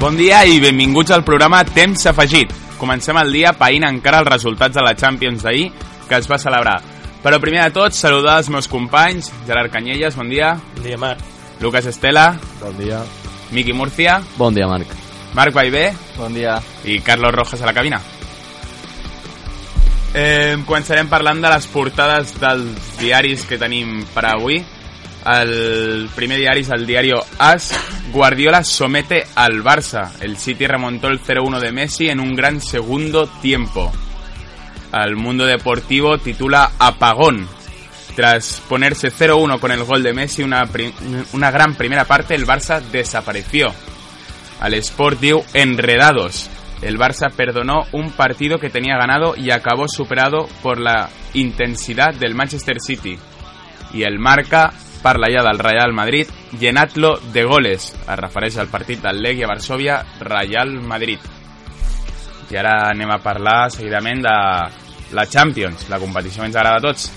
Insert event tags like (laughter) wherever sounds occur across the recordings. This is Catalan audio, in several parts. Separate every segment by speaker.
Speaker 1: Bon dia i benvinguts al programa Temps Afegit. Comencem el dia païnt encara els resultats de la Champions d'ahir que es va celebrar. Però primer de tot, saludar els meus companys, Gerard Canyelles, bon dia,
Speaker 2: Bon dia, Marc.
Speaker 1: Lucas Estela,
Speaker 3: Bon dia.
Speaker 1: Miqui Murcia,
Speaker 3: Bon dia, Marc.
Speaker 1: Marc Baivé
Speaker 3: Bon dia.
Speaker 1: i Carlos Rojas a la cabina. Eh, començarem parlant de les portades dels diaris que tenim per avui. El primer diari és el diari AS. Guardiola somete al Barça. El City remontó el 0-1 de Messi en un gran segundo tiempo. El Mundo Deportivo titula Apagón. Tras ponerse 0-1 con el gol de Messi, una, pri- una gran primera parte, el Barça desapareció. Al Sport dio enredados. El Barça perdonó un partido que tenía ganado y acabó superado por la intensidad del Manchester City. Y el Marca parla ja del Real Madrid, llenatlo de goles. Es refereix al partit del Legia Varsovia, Real Madrid. I ara anem a parlar seguidament de la Champions, la competició que ens agrada a tots.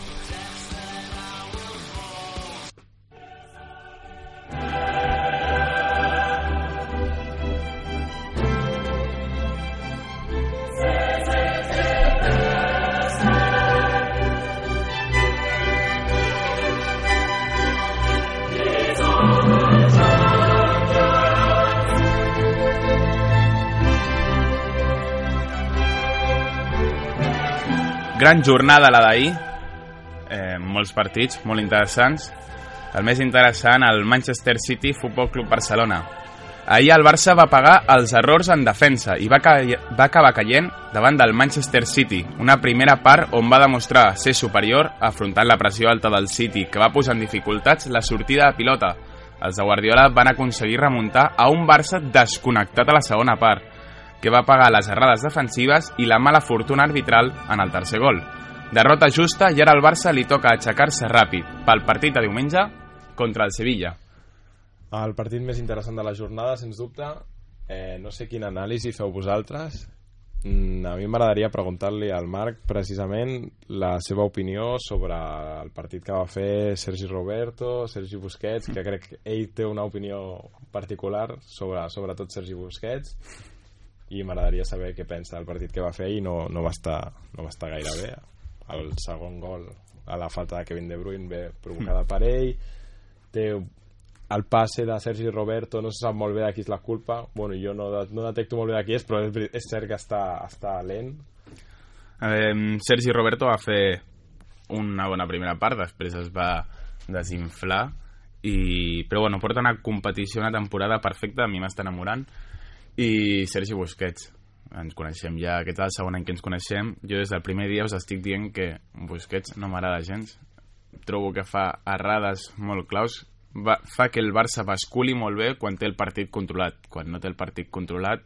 Speaker 1: Gran jornada la d'ahir, eh, molts partits, molt interessants. El més interessant, el Manchester City Futbol Club Barcelona. Ahir el Barça va pagar els errors en defensa i va, ca va acabar caient davant del Manchester City, una primera part on va demostrar ser superior afrontant la pressió alta del City, que va posar en dificultats la sortida de pilota. Els de Guardiola van aconseguir remuntar a un Barça desconnectat a la segona part, que va pagar les errades defensives i la mala fortuna arbitral en el tercer gol. Derrota justa i ara al Barça li toca aixecar-se ràpid pel partit de diumenge contra el Sevilla.
Speaker 2: El partit més interessant de la jornada, sens dubte. Eh, no sé quin anàlisi feu vosaltres. Mm, a mi m'agradaria preguntar-li al Marc precisament la seva opinió sobre el partit que va fer Sergi Roberto, Sergi Busquets, que crec que ell té una opinió particular sobre, sobretot Sergi Busquets i m'agradaria saber què pensa del partit que va fer i no, no, va, estar, no va estar gaire bé el segon gol a la falta de Kevin De Bruyne ve provocada per ell té el passe de Sergi Roberto no se sap molt bé de qui és la culpa bueno, jo no, de- no detecto molt bé de qui és però és, veri- és cert que està, està lent
Speaker 1: Eh, Sergi Roberto va fer una bona primera part, després es va desinflar i... però bueno, porta una competició una temporada perfecta, a mi m'està enamorant i Sergi Busquets ens coneixem ja, aquest és el segon any que ens coneixem jo des del primer dia us estic dient que Busquets no m'agrada gens trobo que fa errades molt claus va, fa que el Barça basculi molt bé quan té el partit controlat quan no té el partit controlat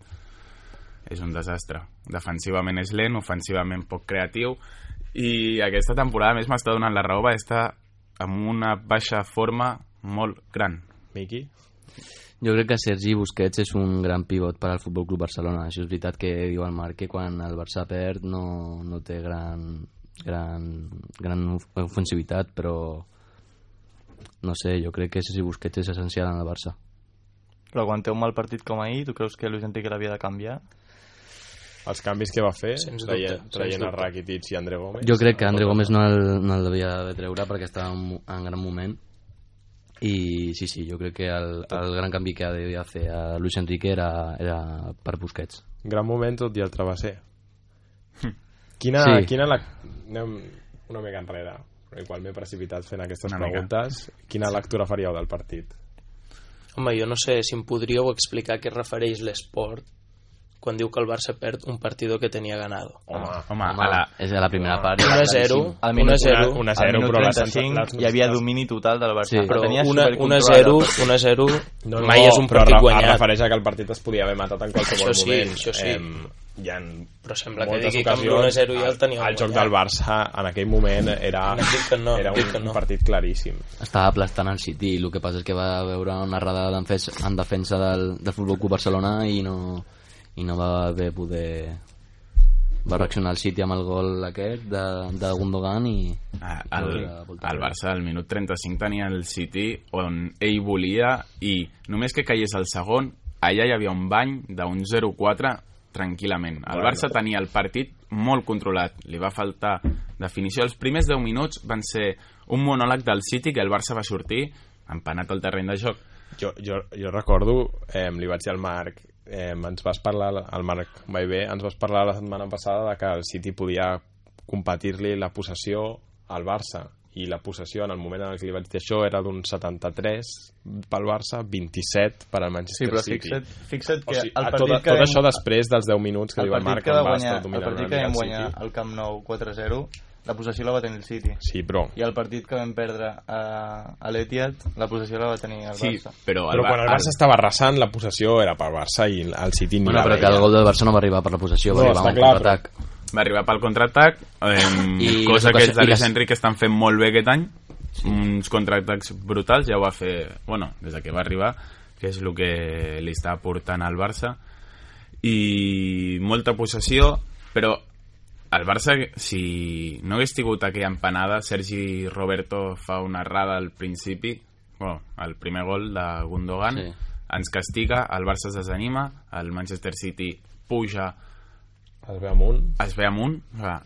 Speaker 1: és un desastre. Defensivament és lent, ofensivament poc creatiu i aquesta temporada a més m'està donant la raó va estar amb una baixa forma molt gran.
Speaker 2: Miqui?
Speaker 4: Jo crec que Sergi Busquets és un gran pivot per al Futbol Club Barcelona. Això és veritat que diu el Marc que quan el Barça perd no, no té gran, gran, gran of- ofensivitat, però no sé, jo crec que Sergi Busquets és essencial en el Barça.
Speaker 5: Però quan té un mal partit com ahir, tu creus que Luis Enrique l'havia de canviar?
Speaker 2: els canvis que va fer
Speaker 3: Sens dubte,
Speaker 2: traient,
Speaker 3: sens
Speaker 2: traient a
Speaker 3: dubte.
Speaker 2: Rakitic i André Gómez
Speaker 4: Jo crec que André Gómez no el, no el devia de treure perquè estava en, mo- en gran moment i sí, sí, jo crec que el, el gran canvi que devia fer a Luis Enrique era, era per Busquets.
Speaker 2: gran moment tot i el travesser quina, sí.
Speaker 4: Hm. Sí.
Speaker 2: quina la... anem una mica enrere però igual m'he precipitat fent aquestes
Speaker 1: Una mica.
Speaker 2: preguntes. Quina lectura faríeu del partit?
Speaker 6: Home, jo no sé si em podríeu explicar a què es refereix l'esport quan diu que el Barça perd un partido que tenia ganado.
Speaker 2: Home,
Speaker 1: Home,
Speaker 4: Home,
Speaker 1: Ah, a la...
Speaker 4: és a la primera part.
Speaker 6: 1 a 0,
Speaker 5: Al
Speaker 6: 1 a
Speaker 5: minut
Speaker 6: 0,
Speaker 2: Una
Speaker 5: Al
Speaker 2: 0,
Speaker 5: minut
Speaker 2: però la
Speaker 5: 35
Speaker 2: sensació-
Speaker 5: hi havia domini total del Barça.
Speaker 4: Sí.
Speaker 5: però
Speaker 6: però
Speaker 5: tenia
Speaker 6: 1 a
Speaker 5: supercontrolat
Speaker 6: 0,
Speaker 5: el partit.
Speaker 6: 1 a 0,
Speaker 2: No, no,
Speaker 6: mai és un
Speaker 2: però
Speaker 6: partit
Speaker 2: re- Es
Speaker 6: guanyat.
Speaker 2: refereix a que el partit es podia haver matat en qualsevol
Speaker 6: Això sí,
Speaker 2: moment.
Speaker 6: això sí.
Speaker 2: Em, hi ha
Speaker 6: Però sembla que
Speaker 2: moltes
Speaker 6: digui que amb
Speaker 2: ocasions,
Speaker 6: l'1-0 ja el teníeu
Speaker 2: El joc
Speaker 6: guanyat.
Speaker 2: del Barça en aquell moment era,
Speaker 6: Dic que no,
Speaker 2: era
Speaker 6: dic que
Speaker 2: un
Speaker 6: no.
Speaker 2: partit claríssim.
Speaker 4: Estava aplastant el City, el que passa és que va veure una redada en, fes, en defensa del, del Futbol Club Barcelona i no, i no va haver poder... Va reaccionar el City amb el gol aquest de, de Gundogan i...
Speaker 1: a-
Speaker 4: i
Speaker 1: Ah, al,
Speaker 4: la volta
Speaker 1: al Barça al minut 35 tenia el City on ell volia i només que caigués el segon allà hi havia un bany d'un 0-4 tranquil·lament. El
Speaker 2: Bueno.
Speaker 1: Barça tenia el partit molt controlat, li va faltar definició. Els primers 10 minuts van ser un monòleg del City que el Barça va sortir empanat al terreny de joc.
Speaker 2: Jo, jo, jo recordo, eh, li vaig dir al Marc, eh, ens vas parlar, el Marc Baivé, ens vas parlar la setmana passada de que el City podia competir-li la possessió al Barça i la possessió en el moment en què li vaig dir això era d'un 73 pel Barça, 27 per al
Speaker 5: Sí,
Speaker 2: Manchester
Speaker 5: però
Speaker 2: City.
Speaker 5: fixa't, fixa't
Speaker 2: O
Speaker 5: que
Speaker 2: sigui,
Speaker 5: el
Speaker 2: a
Speaker 5: partit
Speaker 2: tot,
Speaker 5: que
Speaker 2: tot
Speaker 5: vam-
Speaker 2: això després dels 10 minuts que
Speaker 5: el
Speaker 2: li va
Speaker 5: partit
Speaker 2: marcar
Speaker 5: que va
Speaker 2: el Barça
Speaker 5: guanyar, el
Speaker 2: dominant
Speaker 5: partit que
Speaker 2: una
Speaker 5: vam
Speaker 2: mica
Speaker 5: guanyar
Speaker 2: City.
Speaker 5: al Camp Nou 4-0, la possessió la va tenir el City.
Speaker 2: Sí, però...
Speaker 5: I el partit que vam perdre a, a l'Etihad, la possessió la va tenir el
Speaker 1: Sí,
Speaker 5: Barça.
Speaker 1: però, el,
Speaker 2: Però
Speaker 1: Ba-
Speaker 2: quan el Barça estava arrasant, la possessió era pel Barça i el City ni
Speaker 4: Bueno,
Speaker 2: la
Speaker 4: però que
Speaker 2: veia.
Speaker 4: el gol del Barça no va arribar per la possessió, va
Speaker 2: No,
Speaker 4: arribar
Speaker 2: està
Speaker 4: un
Speaker 2: clar,
Speaker 4: contraatac.
Speaker 1: va arribar pel contraatac, eh, cosa
Speaker 4: I les
Speaker 1: que els de
Speaker 4: ocasions- i
Speaker 1: Luis
Speaker 4: les-
Speaker 1: Enrique estan fent molt bé aquest any, uns contraatacs brutals, ja ho va fer, bueno, des de que va arribar, que és el que li està aportant al Barça, i molta possessió, però el Barça, si no hagués tingut aquella empanada, Sergi Roberto fa una errada al principi, bueno, el primer gol de Gundogan,
Speaker 4: Sí.
Speaker 1: ens castiga, el Barça es desanima, el Manchester City puja
Speaker 2: Es ve amunt.
Speaker 1: es ve amunt clar,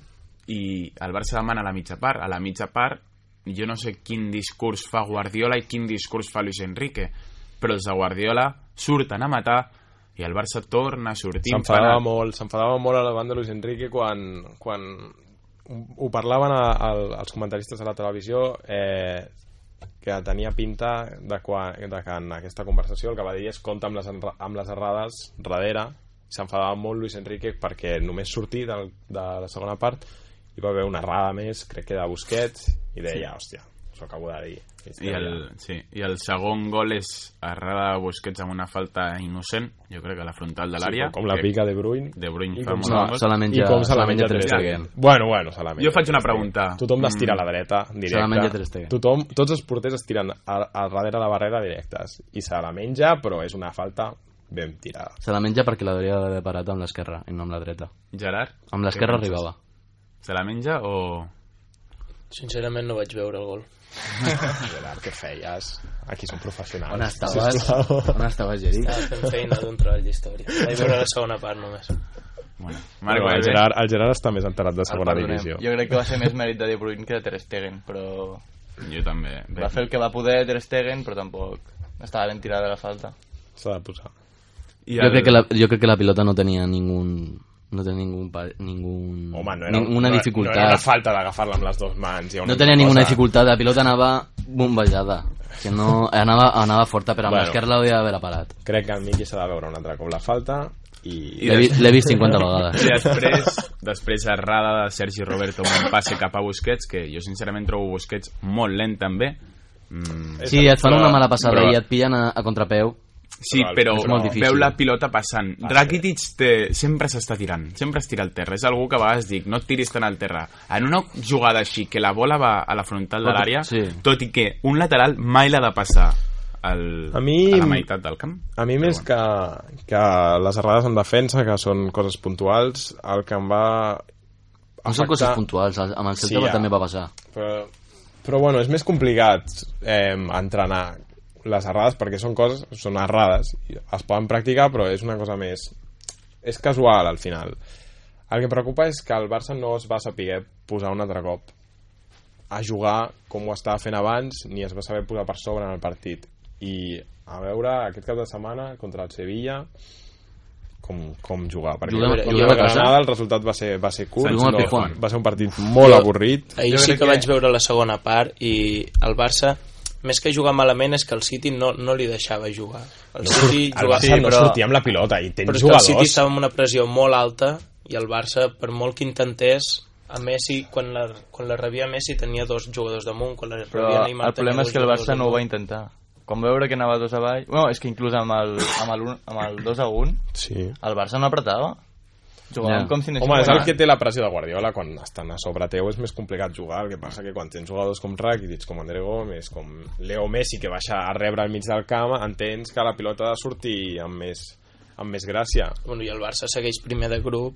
Speaker 1: i el Barça demana la mitja part a la mitja part jo no sé quin discurs fa Guardiola i quin discurs fa Luis Enrique però els de Guardiola surten a matar i el Barça torna a sortir
Speaker 2: S'enfadava
Speaker 1: empanat.
Speaker 2: molt, s'enfadava molt a la banda de Luis Enrique quan, quan ho parlaven a, a, als comentaristes de la televisió eh, que tenia pinta de, quan, de que en aquesta conversació el que va dir és compta amb les, enra- amb les errades darrere s'enfadava molt Luis Enrique perquè només sortir del, de la segona part hi va haver una errada més, crec que de Busquets i deia, sí. hòstia, s'ho acabo de dir
Speaker 1: I el, sí, i el segon gol és errada de Busquets amb una falta innocent, jo crec que a la frontal de l'àrea.
Speaker 2: sí, com la
Speaker 1: que
Speaker 2: pica de Bruyne
Speaker 1: De Bruyne
Speaker 2: I
Speaker 1: fa
Speaker 2: com
Speaker 1: molt
Speaker 2: se la-
Speaker 1: bon gol.
Speaker 4: solament
Speaker 2: I
Speaker 4: ja,
Speaker 2: com se la
Speaker 4: solament
Speaker 2: menja
Speaker 4: ja
Speaker 2: Ter
Speaker 4: Ter
Speaker 1: Stegen.
Speaker 4: Stegen.
Speaker 2: Bueno, bueno, se la menja.
Speaker 1: Jo faig una
Speaker 2: Ter Stegen.
Speaker 1: pregunta.
Speaker 2: Tothom d'estirar a la dreta,
Speaker 4: Mm. Se la menja
Speaker 2: directa.
Speaker 4: Ter Stegen.
Speaker 2: Tothom, tots els porters estiren a, a darrere la barrera directes. I se la menja, però és una falta ben tirada.
Speaker 4: Se la menja perquè l'hauria d'haver parat amb l'esquerra i no amb la dreta.
Speaker 1: Gerard?
Speaker 4: Amb l'esquerra
Speaker 1: què penses?
Speaker 4: arribava.
Speaker 1: Se la menja o...
Speaker 6: Sincerament no vaig veure el gol.
Speaker 2: Gerard, què feies? Aquí som professionals.
Speaker 4: On estaves?
Speaker 2: sisplau.
Speaker 4: On estaves, Geri?
Speaker 6: Estava fent feina d'un treball d'història. Vaig veure la segona part només.
Speaker 1: Bueno, Marc, eh?
Speaker 2: Bueno,
Speaker 1: va
Speaker 2: el,
Speaker 1: bé.
Speaker 2: Gerard, el Gerard està més enterat de
Speaker 4: Ah,
Speaker 5: El
Speaker 2: segona
Speaker 5: perdonem.
Speaker 2: divisió.
Speaker 5: Jo crec que va ser més mèrit de De Bruyne que de Ter Stegen, però
Speaker 1: Jo també. Bé.
Speaker 5: va fer el que va poder Ter Stegen, però tampoc estava ben tirada la falta.
Speaker 2: S'ha de posar.
Speaker 1: I
Speaker 4: Jo crec, que la, jo crec que la pilota no tenia ningún no tenia ningún pa- ningún
Speaker 2: Home, no era,
Speaker 4: ninguna
Speaker 2: no, era-
Speaker 4: dificultat.
Speaker 2: No era una falta d'agafar-la amb les dues mans. hi ha una
Speaker 4: No tenia
Speaker 2: cosa-
Speaker 4: ninguna dificultat, la pilota anava bombejada. Que no, anava, anava forta, però amb
Speaker 2: Bueno.
Speaker 4: l'esquerra l'hauria d'haver parat.
Speaker 2: Crec que el Miqui s'ha de veure un altre cop la falta i...
Speaker 4: L'he vi- l'he vist 50
Speaker 2: (laughs)
Speaker 4: vegades.
Speaker 1: I després, després errada de Sergi Roberto amb un passe cap a Busquets, que jo sincerament trobo Busquets molt lent també. Mm,
Speaker 4: Sí, et fan una mala passada
Speaker 1: però-
Speaker 4: i et pillen a, a contrapeu.
Speaker 1: sí, però,
Speaker 4: És molt difícil. Ah,
Speaker 1: veu la pilota passant. Rakitic té, sempre s'està tirant, sempre es tira al terra. És algú que a vegades dic, no et tiris tant al terra. En una jugada així, que la bola va a la frontal de l'àrea,
Speaker 4: Sí.
Speaker 1: tot i que un lateral mai l'ha de passar al,
Speaker 2: A mi-
Speaker 1: a la meitat del camp.
Speaker 2: A mi més que, que les errades en defensa, que són coses puntuals, el que em va...
Speaker 4: No són
Speaker 2: afectar-
Speaker 4: coses puntuals, al- amb el Celta
Speaker 2: Sí, ja.
Speaker 4: també va passar.
Speaker 2: Però, però bueno, és més complicat eh, entrenar les errades perquè són coses, són errades, i es poden practicar, però és una cosa més... És casual, al final. El que em preocupa és que el Barça no es va saber posar un altre cop a jugar com ho estava fent abans ni es va saber posar per sobre en el partit i a veure aquest cap de setmana contra el Sevilla com, com jugar. Perquè
Speaker 4: Juguem-
Speaker 2: juguem,
Speaker 4: juguem
Speaker 2: juguem
Speaker 4: a
Speaker 2: a
Speaker 4: casa?
Speaker 2: Granada el resultat va ser, va ser curt,
Speaker 4: Juguem al
Speaker 2: no,
Speaker 4: Gijón.
Speaker 2: va ser un partit molt avorrit.
Speaker 6: Ahir
Speaker 5: Jo crec
Speaker 6: sí que, eh.
Speaker 5: que-
Speaker 6: vaig veure la segona part i el Barça, més que jugar malament, és que el City no, no li deixava jugar. El City
Speaker 2: El
Speaker 6: jugava...
Speaker 2: Barça
Speaker 5: Sí,
Speaker 2: no
Speaker 5: però-
Speaker 2: sortia amb la pilota i
Speaker 6: però
Speaker 2: tens
Speaker 6: és que el
Speaker 2: jugadors.
Speaker 6: City estava amb una pressió molt alta i el Barça, per molt que intentés, a Messi, quan la, quan la rebia Messi tenia dos jugadors damunt, quan la
Speaker 5: Però
Speaker 6: rebia Neymar
Speaker 5: el problema
Speaker 6: tenia
Speaker 5: és que el
Speaker 6: dos
Speaker 5: Barça
Speaker 6: jugadors
Speaker 5: no ho va
Speaker 6: damunt.
Speaker 5: intentar. Quan va veure que anava dos avall... Bueno, és que inclús amb el, amb el, un, amb el 2 a 1,
Speaker 2: Sí.
Speaker 5: el Barça no apretava. Jugaven
Speaker 4: Ja.
Speaker 5: com si anessin
Speaker 2: Home, és el
Speaker 5: guanyant.
Speaker 2: que té la pressió de Guardiola quan estan a sobre teu és més complicat jugar el que passa que quan tens jugadors com Rakitic com André Gómez, com Leo Messi que baixa a rebre al mig del camp entens que la pilota ha de sortir amb més, amb més gràcia
Speaker 6: Bueno, I el Barça segueix primer de grup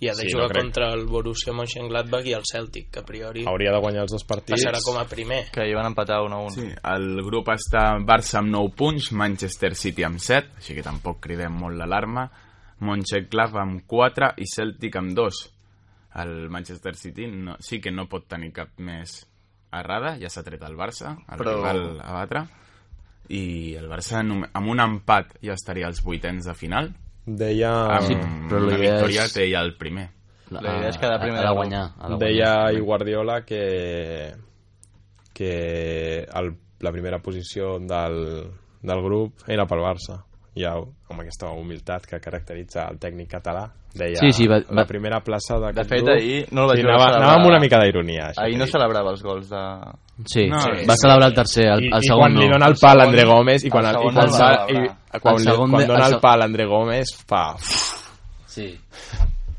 Speaker 6: i ha de
Speaker 2: Sí,
Speaker 6: jugar
Speaker 2: no crec.
Speaker 6: contra el Borussia Mönchengladbach i el Celtic, que a priori
Speaker 2: hauria de guanyar els dos partits
Speaker 6: passarà com a primer.
Speaker 5: Que hi van empatar 1 a 1.
Speaker 1: Sí, el grup està Barça amb 9 punts, Manchester City amb 7, així que tampoc cridem molt l'alarma, Montclav amb 4 i Celtic amb 2. El Manchester City no, sí que no pot tenir cap més errada, ja s'ha tret el Barça, el
Speaker 5: Però-
Speaker 1: Però... rival a batre, i el Barça nom- amb un empat ja estaria als vuitens de final,
Speaker 2: deia,
Speaker 1: amb
Speaker 4: Ah, Sí, però la
Speaker 1: una
Speaker 4: idea
Speaker 1: victòria
Speaker 4: és-
Speaker 1: té ja el primer.
Speaker 5: La idea és quedar primer
Speaker 4: Ha
Speaker 5: de
Speaker 4: de
Speaker 5: grup.
Speaker 4: guanyar. Ha de guanyar.
Speaker 2: deia i Guardiola que que el, la primera posició del, del grup era pel Barça ja amb aquesta humilitat que caracteritza el tècnic català deia
Speaker 4: Sí, sí, va-
Speaker 2: la
Speaker 4: va-
Speaker 2: primera plaça de,
Speaker 5: De fet, ahir no el vaig
Speaker 2: sí,
Speaker 5: veure
Speaker 2: anava,
Speaker 5: celebrar.
Speaker 2: anava amb una mica d'ironia això
Speaker 5: Ahir no
Speaker 2: que dic.
Speaker 5: celebrava els gols de...
Speaker 4: Sí,
Speaker 1: No,
Speaker 4: sí.
Speaker 1: és-
Speaker 4: va celebrar el tercer, el,
Speaker 2: I,
Speaker 4: el
Speaker 2: i
Speaker 4: segon
Speaker 2: quan
Speaker 4: no.
Speaker 2: li dona el
Speaker 5: El
Speaker 2: pal a
Speaker 5: segon-
Speaker 2: André Gómez i quan,
Speaker 5: el
Speaker 2: el, i
Speaker 5: segon
Speaker 2: quan,
Speaker 4: no el
Speaker 2: fa, i
Speaker 4: va
Speaker 5: celebrar.
Speaker 2: quan,
Speaker 4: El
Speaker 2: li,
Speaker 4: segon
Speaker 2: quan
Speaker 4: de-
Speaker 2: dona
Speaker 4: el
Speaker 2: el,
Speaker 4: segon-
Speaker 2: pal a André Gómez fa...
Speaker 4: Sí.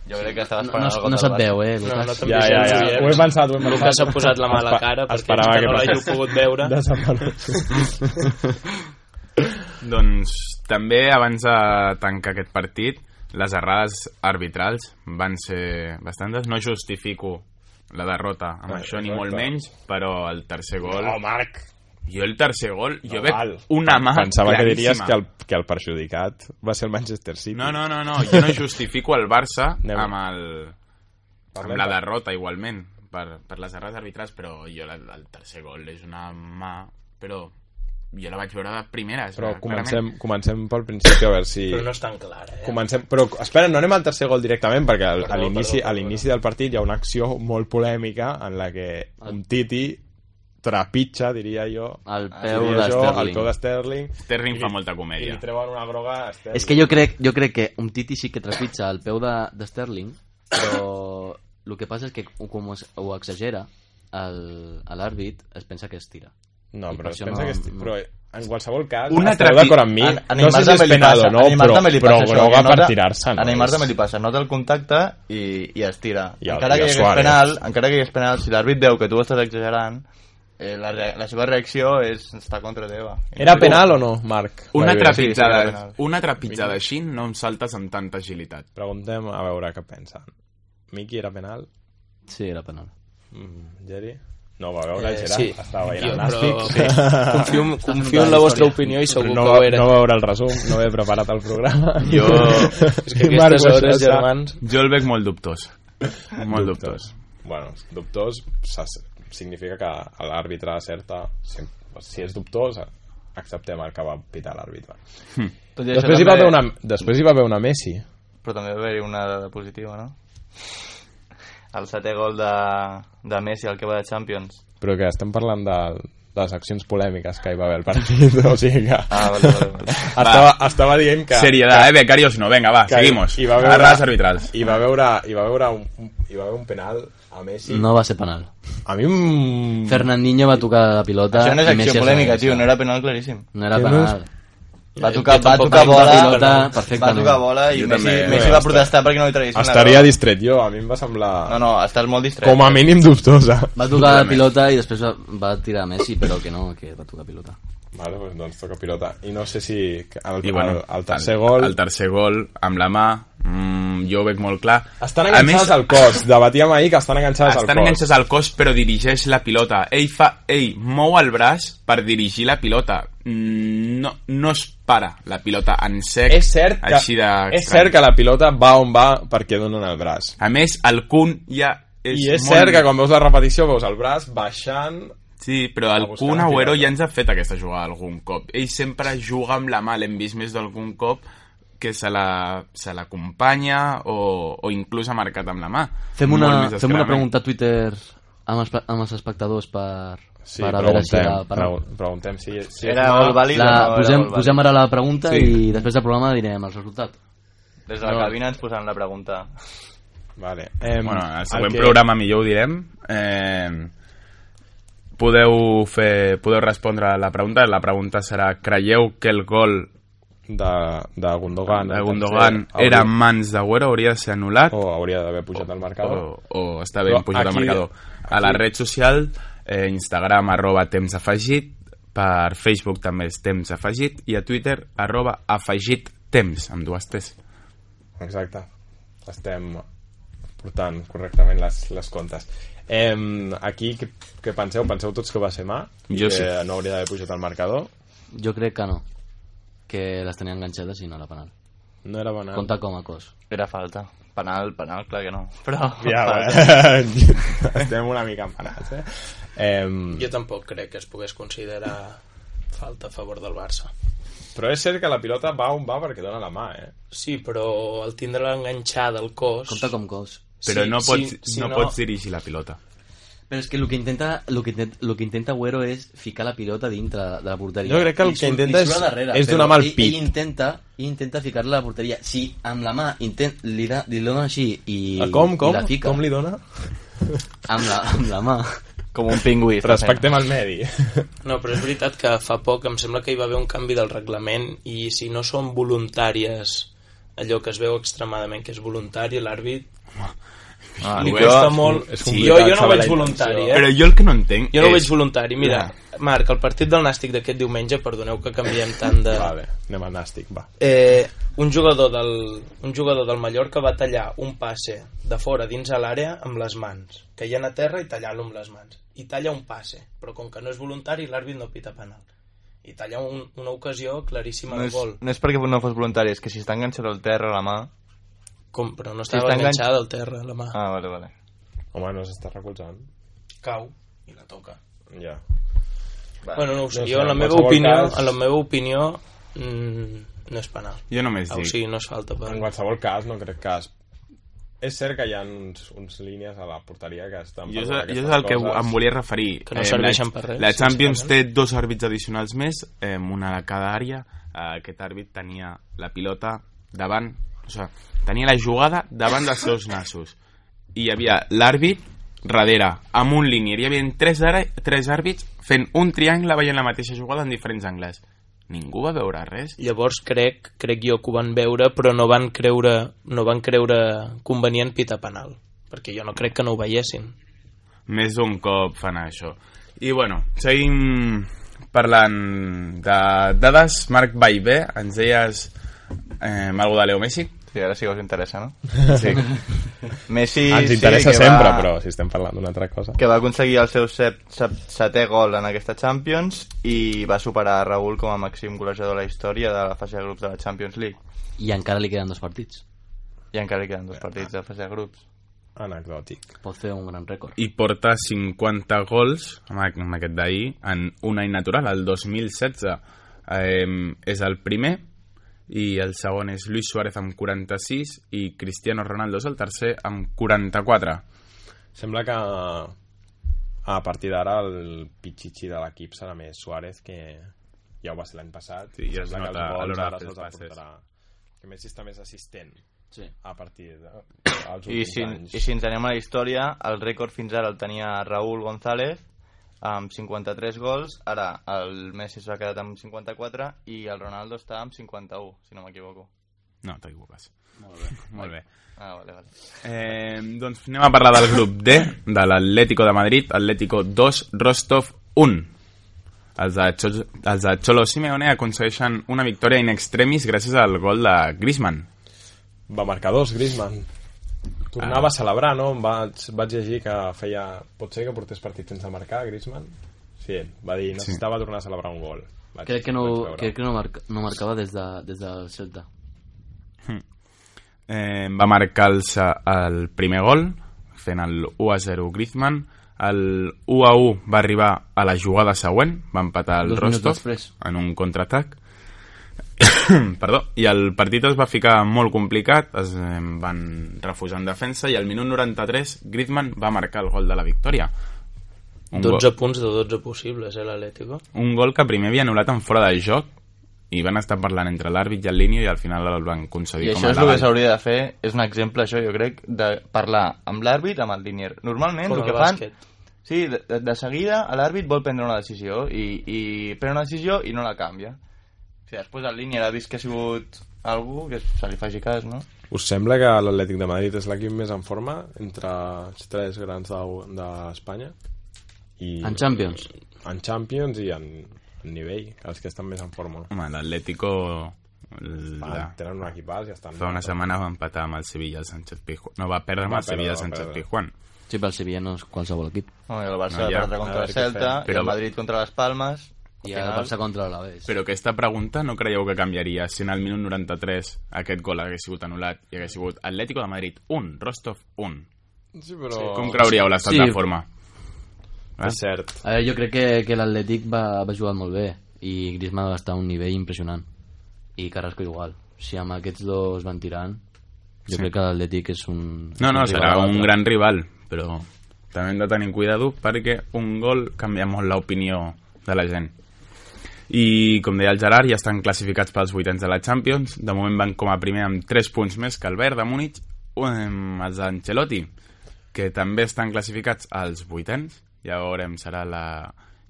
Speaker 5: Jo crec que estava
Speaker 4: No,
Speaker 5: esperant el
Speaker 4: no,
Speaker 5: gol
Speaker 4: no
Speaker 5: del
Speaker 4: se't
Speaker 5: Barça.
Speaker 4: veu, eh,
Speaker 6: No, no
Speaker 4: Lucas?
Speaker 6: te'n
Speaker 2: Ja,
Speaker 6: vist,
Speaker 2: ja, ja.
Speaker 6: Juliet.
Speaker 2: Ho he pensat, ho he pensat.
Speaker 6: Lucas s'ha posat la mà a la
Speaker 2: Espe-
Speaker 6: cara perquè
Speaker 2: esperava
Speaker 6: jo
Speaker 2: que
Speaker 6: no l'hagi
Speaker 2: passés.
Speaker 6: pogut
Speaker 2: (laughs)
Speaker 6: veure.
Speaker 1: Doncs també abans de tancar aquest partit, les errades arbitrals van ser bastantes. No justifico la derrota amb
Speaker 2: Ah,
Speaker 1: això, ni
Speaker 2: exacte.
Speaker 1: molt menys, però el tercer gol...
Speaker 2: No, Marc!
Speaker 1: Jo el tercer gol, jo veig
Speaker 2: val.
Speaker 1: una mà
Speaker 2: Pensava que diries
Speaker 1: claríssima.
Speaker 2: que el, que el perjudicat va ser el Manchester City.
Speaker 1: No, no, no, no, jo no justifico el
Speaker 2: (laughs)
Speaker 1: Barça
Speaker 2: Anem.
Speaker 1: amb, el, amb
Speaker 2: Parlem
Speaker 1: la
Speaker 2: de-
Speaker 1: derrota, igualment, per, per les errades arbitrals, però jo la, el tercer gol és una mà... Però jo la vaig veure de primera. és
Speaker 2: Però
Speaker 1: clarament.
Speaker 2: comencem, comencem pel principi, a veure si...
Speaker 6: Però no és tan clar, eh?
Speaker 2: Comencem, però espera, no anem al tercer gol directament perquè al, a
Speaker 6: Perdó,
Speaker 2: l'inici
Speaker 6: perdó,
Speaker 2: a l'inici del partit hi ha una acció molt polèmica en la que un Titi trepitja, diria jo,
Speaker 4: El peu
Speaker 2: diria Ah, jo el
Speaker 4: d'Esterling.
Speaker 2: peu d'Sterling
Speaker 1: Sterling fa molta
Speaker 2: i li
Speaker 1: comèdia.
Speaker 2: treuen una groga a Sterling.
Speaker 4: És que jo crec, jo crec que un Titi sí que trepitja el peu de, de Sterling, però el que passa és que com ho, ho exagera, el- a l'àrbit es pensa que es tira.
Speaker 2: No,
Speaker 4: I
Speaker 2: però
Speaker 4: per
Speaker 2: es
Speaker 4: això
Speaker 2: pensa
Speaker 4: no-
Speaker 2: que... Esti...
Speaker 4: no.
Speaker 2: Però en qualsevol cas,
Speaker 1: Una
Speaker 2: esteu
Speaker 1: trapi-
Speaker 2: d'acord amb mi?
Speaker 5: A- a
Speaker 2: no
Speaker 5: Neymar
Speaker 2: sé si és
Speaker 5: també li
Speaker 2: penal
Speaker 5: passa,
Speaker 2: o no,
Speaker 5: a Neymar
Speaker 2: però,
Speaker 5: també li
Speaker 2: però
Speaker 5: passa això,
Speaker 2: groga
Speaker 5: que
Speaker 2: per
Speaker 5: nota-
Speaker 2: tirar-se.
Speaker 5: A
Speaker 2: No?
Speaker 5: Neymar
Speaker 2: És-
Speaker 5: també li passa, nota el contacte i, i es tira.
Speaker 2: I el-
Speaker 5: encara
Speaker 2: i
Speaker 5: que
Speaker 2: el
Speaker 5: hi hagués
Speaker 2: Suárez.
Speaker 5: penal, encara que hi hagués penal, si l'àrbit veu que tu estàs exagerant, eh, la, re- la seva reacció és estar contra teva.
Speaker 2: Era penal o no, Marc?
Speaker 1: Una
Speaker 2: Gairebé. eh?
Speaker 5: sí, sí,
Speaker 1: trepitjada,
Speaker 5: fenomenal.
Speaker 1: una trepitjada així no em saltes amb tanta agilitat.
Speaker 2: Preguntem a veure què pensen. Miki era penal?
Speaker 4: Sí, era penal.
Speaker 2: Mm, Jerry? No, va veure el Gerard.
Speaker 6: Eh, sí.
Speaker 2: Estava veient
Speaker 6: Jo,
Speaker 2: el
Speaker 6: però...
Speaker 2: Nàstic.
Speaker 6: sí. Confio, en- confio en la vostra opinió i segur
Speaker 2: No,
Speaker 6: que
Speaker 2: va,
Speaker 6: ho era.
Speaker 2: no va veure el resum, no he preparat el
Speaker 6: (laughs)
Speaker 2: programa. (laughs)
Speaker 1: Jo,
Speaker 6: És que
Speaker 2: I Marc
Speaker 6: aquestes
Speaker 2: ho
Speaker 6: hores,
Speaker 2: sap.
Speaker 6: germans...
Speaker 1: jo el veig molt dubtós. Molt dubtós.
Speaker 2: Bueno, dubtós s'ha- significa que l'àrbitre acerta... Si, si és dubtós, acceptem el que va pitar l'àrbitre.
Speaker 5: Tot i això
Speaker 2: Després hi, va haver una, després hi va haver una Messi.
Speaker 5: Però també va haver-hi una dada positiva, no? El setè gol de, de Messi, el que va de Champions.
Speaker 2: però que estem parlant de, de les accions polèmiques que hi va haver al partit, (laughs) o sigui que...
Speaker 5: Ah, vale, vale,
Speaker 2: (laughs)
Speaker 5: vale.
Speaker 2: estava, estava dient que...
Speaker 1: Seriedad, eh, becarios no, venga, va,
Speaker 2: que
Speaker 1: seguimos.
Speaker 2: Hi va veure,
Speaker 1: Errades arbitrals.
Speaker 2: Hi va veure, hi va veure un, un- hi va haver un penal a Messi.
Speaker 4: No va ser penal.
Speaker 2: A mi... Mm,
Speaker 4: Fernandinho va tocar la pilota...
Speaker 5: Això no és
Speaker 4: i Messi
Speaker 5: acció
Speaker 4: es
Speaker 5: polèmica,
Speaker 4: regressa.
Speaker 5: tio, no era penal claríssim.
Speaker 4: No era
Speaker 2: Que no
Speaker 4: penal.
Speaker 5: Va tocar,
Speaker 6: Jo
Speaker 5: va
Speaker 6: tampoc
Speaker 5: tocar
Speaker 4: vaig veure
Speaker 5: bola,
Speaker 4: la pilota
Speaker 5: va
Speaker 4: perfectament.
Speaker 5: tocar bola i
Speaker 1: Jo
Speaker 5: Messi,
Speaker 1: també,
Speaker 5: Messi
Speaker 2: eh,
Speaker 5: va protestar perquè no li traguessin la
Speaker 2: estaria
Speaker 5: bola.
Speaker 2: distret jo, a mi em va semblar...
Speaker 5: No, no, estàs molt distret.
Speaker 2: Com a mínim eh. dubtosa.
Speaker 4: Va tocar la
Speaker 1: Segurament.
Speaker 4: pilota i després va, va tirar a Messi, però que no, que va tocar pilota.
Speaker 2: Vale, doncs, doncs toca pilota. I no sé si el,
Speaker 1: I bueno,
Speaker 2: bueno, el, el tercer gol...
Speaker 1: El tercer gol, amb la mà, mm, jo ho veig molt clar.
Speaker 2: Estan
Speaker 1: A més,
Speaker 2: enganxades al cos. Debatíem ahir que estan enganxades
Speaker 1: Estan
Speaker 2: al cos.
Speaker 1: enganxats al cos, però dirigeix la pilota. Ell fa... Ell mou el braç per dirigir la pilota. Mm, No, no es para la pilota en sec.
Speaker 2: És cert, que,
Speaker 1: així de...
Speaker 2: és cert que la pilota va on va perquè donen el braç.
Speaker 1: A més, el Kun ja... És
Speaker 2: I és
Speaker 1: molt...
Speaker 2: cert que quan veus la repetició veus el braç baixant...
Speaker 1: Sí, però el
Speaker 2: A buscar
Speaker 1: Kun
Speaker 2: la
Speaker 1: Agüero
Speaker 2: pilota.
Speaker 1: ja ens ha fet aquesta jugada algun cop. Ell sempre juga amb la mà, l'hem vist més d'algun cop, que se la- se l'acompanya o, o inclús ha marcat amb la mà.
Speaker 4: Fem
Speaker 1: Molt
Speaker 4: una,
Speaker 1: més
Speaker 4: fem una
Speaker 1: descarament.
Speaker 4: pregunta a Twitter amb els, pa- amb els espectadors per,
Speaker 2: Sí,
Speaker 4: per a veure si
Speaker 2: preguntem,
Speaker 4: la... Per...
Speaker 2: pregu- preguntem si, si
Speaker 5: Era
Speaker 2: és
Speaker 5: molt
Speaker 2: mà,
Speaker 5: vàlid o no
Speaker 4: La,
Speaker 5: era
Speaker 4: posem,
Speaker 5: molt vàlid?
Speaker 4: posem ara la pregunta
Speaker 1: Sí.
Speaker 4: i després del programa direm el resultat.
Speaker 5: Des de la
Speaker 1: No.
Speaker 5: cabina ens posaran la pregunta.
Speaker 2: Vale. Eh,
Speaker 1: Bueno, al següent programa millor ho direm. Eh, podeu, fer, podeu respondre a la pregunta. La pregunta serà, creieu que el gol
Speaker 2: De, de Gundogan.
Speaker 1: de Gundogan era en mans d'Agüero? Hauria de ser anul·lat?
Speaker 2: O hauria d'haver pujat al mercador.
Speaker 1: o, o està ben
Speaker 2: Però
Speaker 1: pujat al
Speaker 2: aquí-
Speaker 1: marcador. A la red social, eh, Instagram, arroba temps afegit, per Facebook també és temps afegit, i a Twitter, arroba afegit temps, amb dues T's. oh.
Speaker 2: Exacte. Estem portant correctament les, les comptes. Eh, aquí, què, què penseu? Penseu tots que va ser mà? I
Speaker 1: Jo
Speaker 2: que
Speaker 1: sí.
Speaker 2: no hauria d'haver pujat al marcador?
Speaker 4: Jo crec que no. Que les tenia enganxades i no era penal.
Speaker 2: No era bona...
Speaker 4: Compta com a cos.
Speaker 5: Era falta. Penal, penal, clar que no. Però...
Speaker 2: Ja,
Speaker 5: (laughs) falta.
Speaker 2: eh? (laughs) Estem una mica emparats, eh? eh
Speaker 6: Jo tampoc crec que es pogués considerar falta a favor del Barça.
Speaker 2: però és cert que la pilota va on va perquè dona la mà, eh?
Speaker 6: Sí, però al tindre-la enganxada al cos...
Speaker 4: Compta com cos.
Speaker 1: Però
Speaker 6: Sí,
Speaker 1: no, pots,
Speaker 6: sí, sí,
Speaker 1: no,
Speaker 6: no.
Speaker 1: pots dirigir la pilota.
Speaker 4: Però és que el que intenta, el que intenta, el que intenta Agüero és ficar la pilota dintre de la porteria.
Speaker 2: Jo crec que el
Speaker 4: I
Speaker 2: que
Speaker 4: surt-
Speaker 2: intenta
Speaker 4: i surt
Speaker 2: és-
Speaker 4: a darrere,
Speaker 2: és
Speaker 4: però
Speaker 2: donar amb el
Speaker 4: ell-
Speaker 2: pit.
Speaker 4: Ell intenta, ell intenta ficar-la a la porteria. Si amb la mà intent, li, da, li dona així i,
Speaker 2: I, Ah, com,
Speaker 4: i
Speaker 2: com?
Speaker 4: la fica.
Speaker 2: Com li dona?
Speaker 4: Amb la, amb la mà.
Speaker 5: Com un pingüí. està
Speaker 2: Respectem el medi.
Speaker 6: No, però és veritat que fa poc em sembla que hi va haver un canvi del reglament i si no són voluntàries allò que es veu extremadament que és voluntari, l'àrbit
Speaker 5: fent. Ah,
Speaker 6: li
Speaker 1: ho és.
Speaker 5: jo-
Speaker 6: costa molt...
Speaker 2: És
Speaker 6: Sí, jo,
Speaker 2: complicat
Speaker 6: jo no ho
Speaker 2: saber la
Speaker 6: veig voluntari,
Speaker 2: intenció.
Speaker 6: eh?
Speaker 1: Però jo el que no entenc
Speaker 6: Jo no ho
Speaker 1: és...
Speaker 6: veig voluntari. Mira, Marc, el partit del Nàstic d'aquest diumenge, perdoneu que canviem tant de...
Speaker 2: vale, anem al nàstic, va.
Speaker 6: Eh, un, jugador del, un jugador del Mallorca va tallar un passe de fora dins a l'àrea amb les mans, caient a terra i tallant-lo amb les mans. I talla un passe, però com que no és voluntari, l'àrbit no pita penal. I talla un, una ocasió claríssima
Speaker 5: No
Speaker 6: de
Speaker 5: és,
Speaker 6: gol.
Speaker 5: no és perquè no fos voluntari, és que si està enganxat al terra la mà...
Speaker 6: Com, però no
Speaker 5: Si
Speaker 6: estava
Speaker 5: està enganx-
Speaker 6: enganxada al terra, la mà.
Speaker 5: Ah, vale, vale.
Speaker 2: Home, no s'està recolzant.
Speaker 6: Cau i la toca.
Speaker 2: Ja.
Speaker 5: Va.
Speaker 6: Bueno, no ho sé,
Speaker 2: No sé,
Speaker 6: jo en la
Speaker 2: en
Speaker 6: meva
Speaker 2: qualsevol
Speaker 6: opinió,
Speaker 2: cas-
Speaker 6: en la meva opinió mm, no és penal.
Speaker 1: Jo només
Speaker 6: Ah, o
Speaker 1: dic...
Speaker 6: sigui, no és falta per...
Speaker 2: En qualsevol cas, no crec que... Es... És cert que hi ha uns, uns línies a la porteria que estan...
Speaker 1: Jo és,
Speaker 2: parlant
Speaker 1: jo
Speaker 2: d'aquestes
Speaker 1: és el que
Speaker 2: coses.
Speaker 1: em volia referir. Eh,
Speaker 6: Que no
Speaker 1: la-
Speaker 6: serveixen per res,
Speaker 1: La Champions té
Speaker 6: sincerament.
Speaker 1: dos àrbits addicionals més, eh, una de cada àrea. Eh, aquest àrbit tenia la pilota davant, o sigui, tenia la jugada davant dels seus nassos. I hi havia l'àrbit darrere, amb un línier. Hi havia tres, ara, tres àrbits fent un triangle veient la mateixa jugada en diferents angles. Ningú va veure res.
Speaker 6: Llavors crec, crec jo que ho van veure, però no van creure, no van creure convenient pitar penal, perquè jo no crec que no ho veiessin.
Speaker 1: Més d'un cop fan això. I bueno, seguim parlant de dades. Marc Baivé, ens deies eh, algo de Leo Messi?
Speaker 5: Sí, ara sí que us interessa, no?
Speaker 1: Sí.
Speaker 5: (laughs) Messi...
Speaker 2: Ens
Speaker 5: sí,
Speaker 2: interessa
Speaker 5: que
Speaker 2: sempre,
Speaker 5: va-
Speaker 2: però si estem parlant d'una altra cosa...
Speaker 5: que va aconseguir el seu set, set, setè gol en aquesta Champions i va superar a Raúl com a màxim golejador de la història de la fase de grups de la Champions League.
Speaker 4: I encara li queden dos partits.
Speaker 5: I encara hi queden dos partits de fase de grups.
Speaker 2: Anecdòtic.
Speaker 4: Pot fer un gran rècord.
Speaker 1: I porta 50 gols, amb a- amb aquest d'ahir, en un any natural, el 2016. Eh, és el primer, i el segon és Luis Suárez amb 46 i Cristiano Ronaldo és el tercer amb 44.
Speaker 2: Sembla que a partir d'ara el pitxitxi de l'equip serà més Suárez que ja ho va ser l'any passat.
Speaker 1: Sí, ja es
Speaker 2: Sembla que
Speaker 1: nota
Speaker 2: els
Speaker 1: a
Speaker 2: gols
Speaker 1: l'hora de
Speaker 2: ara
Speaker 1: fer els
Speaker 2: se'ls
Speaker 1: passes.
Speaker 2: aportarà. Que Messi està més assistent
Speaker 4: Sí.
Speaker 2: a partir dels
Speaker 5: I
Speaker 2: últims
Speaker 5: si,
Speaker 2: anys.
Speaker 5: I si ens anem a la història, el rècord fins ara el tenia Raúl González amb 53 gols, ara el Messi s'ha quedat amb 54 i el Ronaldo està amb 51, si no m'equivoco.
Speaker 1: No, t'equivoques. Molt bé. Molt bé.
Speaker 5: Ah, vale, vale.
Speaker 1: Eh, doncs anem a parlar del grup D, de l'Atlético de Madrid, Atlético 2, Rostov 1. Els de, Cho els de Cholo Simeone aconsegueixen una victòria in extremis gràcies al gol de Griezmann.
Speaker 2: Va marcar dos, Griezmann. Tornava a celebrar, no? Em Vaig, vaig llegir que feia... Pot ser que portés partit sense marcar, Griezmann? Sí, va dir, necessitava tornar a celebrar un gol. Vaig,
Speaker 4: Crec que
Speaker 2: vaig
Speaker 4: no,
Speaker 2: veure.
Speaker 4: crec que no, marca, no marcava des, de, des del Celta.
Speaker 1: Eh, va marcar el, se- el primer gol, fent el 1-0 Griezmann. El 1-1 va arribar a la jugada següent, va empatar el
Speaker 4: Dos minuts
Speaker 1: Rostov
Speaker 4: després.
Speaker 1: en un contraatac. (coughs) Perdó. I el partit es va ficar molt complicat, es eh, van refusar en defensa i al minut 93 Griezmann va marcar el gol de la victòria. Un,
Speaker 5: Doncs
Speaker 6: 12
Speaker 1: gol,
Speaker 6: punts de 12 possibles, eh, l'Atlético?
Speaker 1: un gol que primer havia anul·lat en fora de joc i van estar parlant entre l'àrbit i el línia i al final el van
Speaker 5: I
Speaker 1: concedir com a
Speaker 5: això és el que
Speaker 1: legal.
Speaker 5: s'hauria de fer, és un exemple, això, jo crec, de parlar amb l'àrbit, amb el linier. Normalment
Speaker 6: Com
Speaker 5: el que
Speaker 6: el
Speaker 5: fan...
Speaker 6: bàsquet.
Speaker 5: Sí, de, de- de seguida l'àrbit vol prendre una decisió i, i pren una decisió i no la canvia. O sigui, després el linier ha vist que ha sigut algú que se li faci cas, no?
Speaker 2: Us sembla que l'Atlètic de Madrid és l'equip més en forma entre els tres grans d'Eu- d'Espanya? I
Speaker 4: En Champions.
Speaker 2: en Champions i en, en nivell, els que estan més en forma.
Speaker 1: Home, l'Atlético...
Speaker 4: Ah.
Speaker 2: Va,
Speaker 1: La...
Speaker 2: tenen un equipàs i estan...
Speaker 1: Fa una setmana va empatar amb el Sevilla el Sánchez Pizjuán. No, va perdre amb
Speaker 2: Va
Speaker 1: el Sevilla el
Speaker 2: perdre, va
Speaker 1: Sánchez
Speaker 2: perdre.
Speaker 1: Pizjuán.
Speaker 4: Sí, pel Sevilla no és qualsevol equip.
Speaker 5: no I el Barça
Speaker 1: No,
Speaker 5: no,
Speaker 1: ja.
Speaker 5: ja. va perdre
Speaker 2: A
Speaker 5: contra
Speaker 2: veure
Speaker 5: el
Speaker 2: què
Speaker 5: Celta,
Speaker 2: fem.
Speaker 5: i
Speaker 1: Però-
Speaker 5: el Madrid contra les Palmes... Al
Speaker 4: I el
Speaker 5: final-
Speaker 4: Barça contra l'Alavés.
Speaker 1: Però aquesta pregunta no creieu que canviaria si en el minut 93 aquest gol hagués sigut anul·lat i hagués sigut Atlético de Madrid 1, Rostov 1.
Speaker 2: Sí, però... Sí,
Speaker 1: Com creuríeu l'estat
Speaker 4: Sí.
Speaker 1: de forma?
Speaker 2: És cert.
Speaker 4: A veure, jo crec que, que l'Atlètic va, va jugar molt bé i Griezmann va estar a un nivell impressionant i Carrasco igual. Si amb aquests dos van tirant, jo
Speaker 1: Sí.
Speaker 4: sí. crec que l'Atlètic és un...
Speaker 1: No, no,
Speaker 4: un rival
Speaker 1: serà
Speaker 4: d'altre.
Speaker 1: un gran rival, però també hem de tenir cuidado perquè un gol canvia molt l'opinió de la gent. I, com deia el Gerard, ja estan classificats pels vuitens de la Champions. De moment van com a primer amb 3 punts més que el Verde Múnich, um, els d'Ancelotti, que també estan classificats als vuitens. Ja veurem, serà la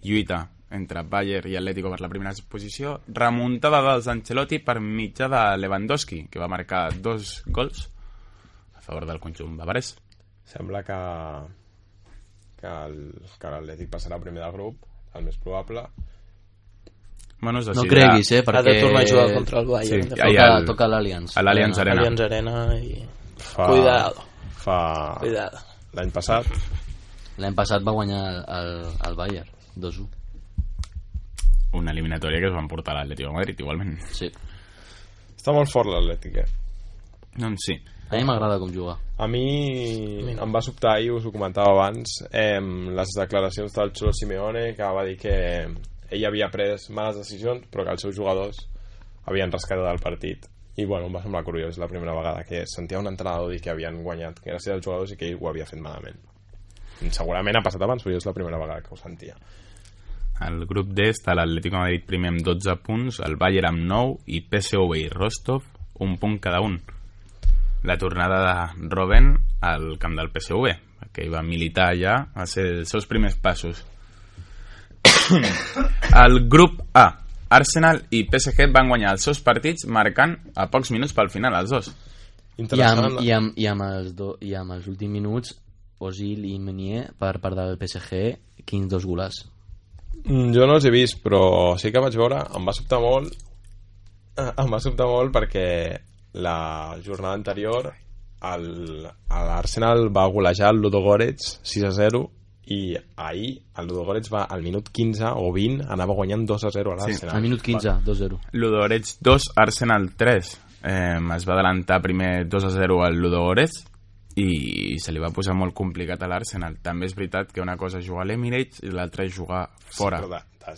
Speaker 1: lluita entre Bayern i Atlético per la primera posició. Remuntada dels Ancelotti per mitjà de Lewandowski, que va marcar dos gols a favor del conjunt bavarès.
Speaker 2: Sembla que, que el- que l'Atlètic passarà primer del grup, el més probable.
Speaker 1: Bueno, és
Speaker 4: No
Speaker 1: així,
Speaker 4: creguis, eh,
Speaker 6: Ha
Speaker 4: perquè...
Speaker 6: de tornar a jugar contra el Bayern.
Speaker 1: Sí,
Speaker 6: de
Speaker 1: ja,
Speaker 6: fet.
Speaker 1: ja.
Speaker 4: Toca,
Speaker 1: el-
Speaker 4: toca l'Allianz.
Speaker 1: A l'Allianz
Speaker 4: Arena.
Speaker 1: Arena.
Speaker 6: Allianz Arena i...
Speaker 2: Fa...
Speaker 6: Cuidado,
Speaker 2: Fa...
Speaker 1: Ah.
Speaker 6: cuidado.
Speaker 2: L'any passat,
Speaker 4: L'any passat va guanyar el, el, el Bayern, 2-1.
Speaker 1: Una eliminatòria que es van portar a l'Atlético de Madrid, igualment. (laughs)
Speaker 4: Sí.
Speaker 2: està molt fort l'Atlètic, eh?
Speaker 1: Doncs sí.
Speaker 4: A mi m'agrada com jugar.
Speaker 2: A mi em va sobtar ahir, us ho comentava abans, eh, les declaracions del Xolo Simeone, que va dir que ell havia pres males decisions, però que els seus jugadors havien rescatat el partit. I, bueno, em va semblar curiós la primera vegada que sentia un entrenador dir que havien guanyat gràcies als jugadors i que ell ho havia fet malament. Segurament ha passat abans, però jo és la primera vegada que ho sentia.
Speaker 1: Al grup D està l'Atlético de Madrid primer amb 12 punts, el Bayern amb 9 i PSV i Rostov un punt cada un. La tornada de Robben al camp del PSV, que hi va militar ja, va ser els seus primers passos. (coughs) Al grup A, Arsenal i PSG van guanyar els seus partits marcant a pocs minuts pel final els dos.
Speaker 4: I
Speaker 2: Interessant,
Speaker 4: amb, i, amb, i, amb els do, I amb els últims minuts, Osil i Meunier, per part del PSG, quins dos golars.
Speaker 2: Mm, Jo no els he vist, però sí que vaig veure, em va sobtar molt, (laughs) eh, em va sobtar molt perquè la jornada anterior el- a l'Arsenal va golejar el Ludogorets 6 a 0 i ahir el Ludogorets va al minut 15 o 20 anava guanyant 2 a 0 a l'Arsenal.
Speaker 4: Al minut 15, 2-0.
Speaker 1: Ludogorets 2, Arsenal 3. Eh, es va adelantar primer 2 a 0 al Ludogorets i se li va posar molt complicat a l'Arsenal. També és veritat que una cosa és jugar a l'Emirates i l'altra és jugar fora.
Speaker 2: Però de, de,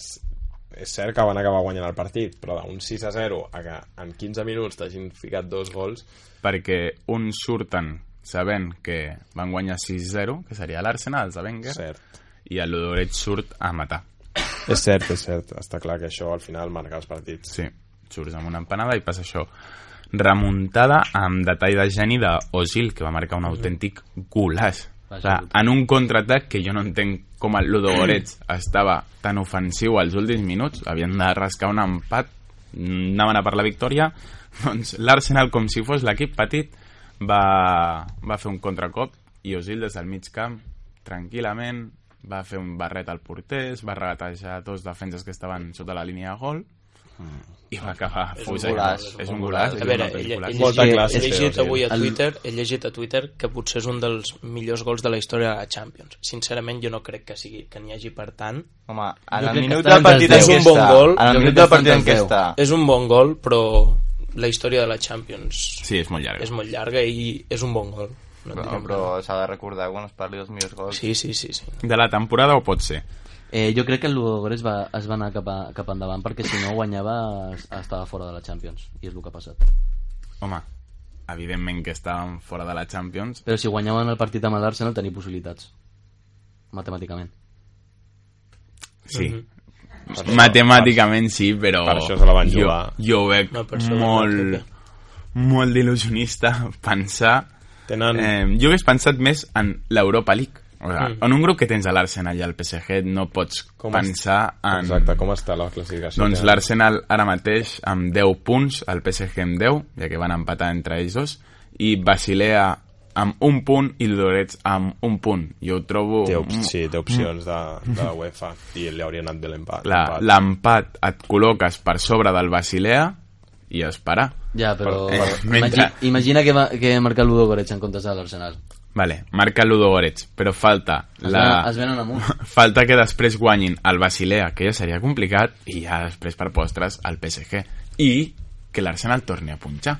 Speaker 2: és cert que van acabar guanyant el partit, però d'un 6 a 0 a que en 15 minuts t'hagin ficat dos gols,
Speaker 1: Perquè uns surten sabent que van guanyar 6-0, que seria l'Arsenal, els de Wenger,
Speaker 2: cert.
Speaker 1: i el Ludogorets surt a matar.
Speaker 2: És cert, és cert. Està clar que això al final marca els partits.
Speaker 1: Sí, surts amb una empanada i passa això. Remuntada amb detall de geni de Osil, que va marcar un autèntic golaç. O
Speaker 4: Vaja,
Speaker 1: sigui, en un contraatac que jo no entenc com el Ludogorets estava tan ofensiu als últims minuts, havien de rascar un empat, anaven a per la victòria, (laughs) doncs l'Arsenal, com si fos l'equip petit, va, va fer un contracop i Osil des del mig camp, tranquil·lament, va fer un barret al porter, es va regatejar dos defenses que estaven sota la línia de gol, i va acabar
Speaker 6: És un
Speaker 1: fusejant.
Speaker 5: golaç,
Speaker 1: És un golaç. és
Speaker 5: A
Speaker 6: A
Speaker 1: un
Speaker 6: veure,
Speaker 1: autèntic
Speaker 6: he, he,
Speaker 1: golaç.
Speaker 2: Molta
Speaker 6: llegit,
Speaker 2: classe,
Speaker 6: he llegit
Speaker 2: sí.
Speaker 6: avui a
Speaker 4: El-
Speaker 6: Twitter, he llegit a Twitter que potser és un dels millors gols de la història de la Champions. Sincerament, jo no crec que sigui que n'hi hagi per tant.
Speaker 5: Home,
Speaker 4: Jo
Speaker 5: en
Speaker 4: crec
Speaker 5: el
Speaker 4: que
Speaker 5: minut
Speaker 4: està
Speaker 5: del
Speaker 4: entre els
Speaker 5: partit en
Speaker 6: deu.
Speaker 5: què
Speaker 6: És un bon
Speaker 5: està,
Speaker 6: gol.
Speaker 5: en
Speaker 4: Jo
Speaker 5: el
Speaker 4: crec que
Speaker 5: minut del
Speaker 4: està
Speaker 5: partit en
Speaker 4: entre
Speaker 5: què
Speaker 4: els
Speaker 5: està,
Speaker 6: És un bon gol, però la història de la Champions
Speaker 1: Sí, és molt llarg.
Speaker 6: és molt llarga i és un bon gol. No en
Speaker 5: Però,
Speaker 6: direm
Speaker 5: però
Speaker 6: res.
Speaker 5: s'ha de recordar quan es parli dels millors gols.
Speaker 6: Sí, sí, sí. sí.
Speaker 1: De la temporada o pot ser?
Speaker 4: Eh, jo crec que el Ludogorets va, es va anar cap, a, cap endavant perquè si no guanyava es, estava fora de la Champions i és el que ha passat.
Speaker 1: Home, evidentment que estàvem fora de la Champions.
Speaker 4: Però si guanyaven el partit amb l'Arsenal tenia possibilitats, matemàticament.
Speaker 1: Sí. Matemàticament sí, però...
Speaker 2: per això se la van
Speaker 1: jo,
Speaker 2: jugar.
Speaker 1: jo ho veig
Speaker 6: No, per això no
Speaker 1: molt,
Speaker 6: crec
Speaker 1: molt d'il·lusionista (laughs) pensar...
Speaker 2: Tenen...
Speaker 1: Eh, jo hagués pensat més en l'Europa League. O sigui,
Speaker 6: Mm.
Speaker 1: en un grup que tens a l'Arsenal i al PSG no pots
Speaker 2: Com es-
Speaker 1: pensar en...
Speaker 2: Exacte, com està la classificació?
Speaker 1: Doncs
Speaker 2: Tenen-
Speaker 1: l'Arsenal ara mateix amb 10 punts, el PSG amb 10, ja que van empatar entre ells dos, i Basilea amb un punt i Lorets amb un punt. Jo ho trobo...
Speaker 2: Té, op sí, té opcions de, de la UEFA i li hauria anat bé l'empat.
Speaker 1: la-
Speaker 2: Empat.
Speaker 1: L'empat et col·loques per sobre del Basilea i es para.
Speaker 4: Ja, però...
Speaker 1: Eh,
Speaker 4: imagi-
Speaker 1: mentre-
Speaker 4: Imagina que, va, que marca el Ludogorets en comptes de l'Arsenal.
Speaker 1: Vale, marca el Ludogorets, però falta
Speaker 4: Es,
Speaker 1: la...
Speaker 4: venen- es venen amunt.
Speaker 1: Falta que després guanyin el Basilea, que ja seria complicat, i ja després per postres el PSG. I que l'Arsenal torni a punxar.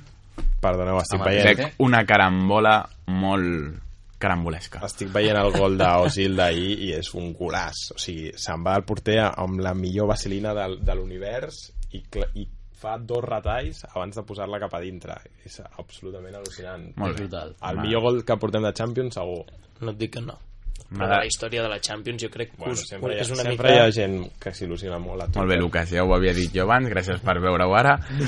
Speaker 2: Perdoneu, estic
Speaker 4: Home,
Speaker 2: veient,
Speaker 1: Veig una carambola molt carambolesca.
Speaker 2: estic veient el gol d'Ozil d'ahir i és un golaç. O sigui, se'n va al porter amb la millor vaselina de, de l'univers i, cla- i fa dos retalls abans de posar-la cap a dintre. És absolutament al·lucinant.
Speaker 1: (laughs) Molt bé.
Speaker 4: Brutal.
Speaker 2: El millor gol que portem de Champions, segur.
Speaker 6: No et dic que no. Però
Speaker 1: M'agrada.
Speaker 6: la història de la Champions jo crec que
Speaker 2: Bueno,
Speaker 6: us,
Speaker 2: sempre, hi ha,
Speaker 6: és una
Speaker 2: sempre
Speaker 6: mica...
Speaker 2: hi ha gent que s'il·lusiona molt a Twitter.
Speaker 1: Molt bé, Lucas, ja ho havia dit jo abans, gràcies per veure-ho ara.
Speaker 5: De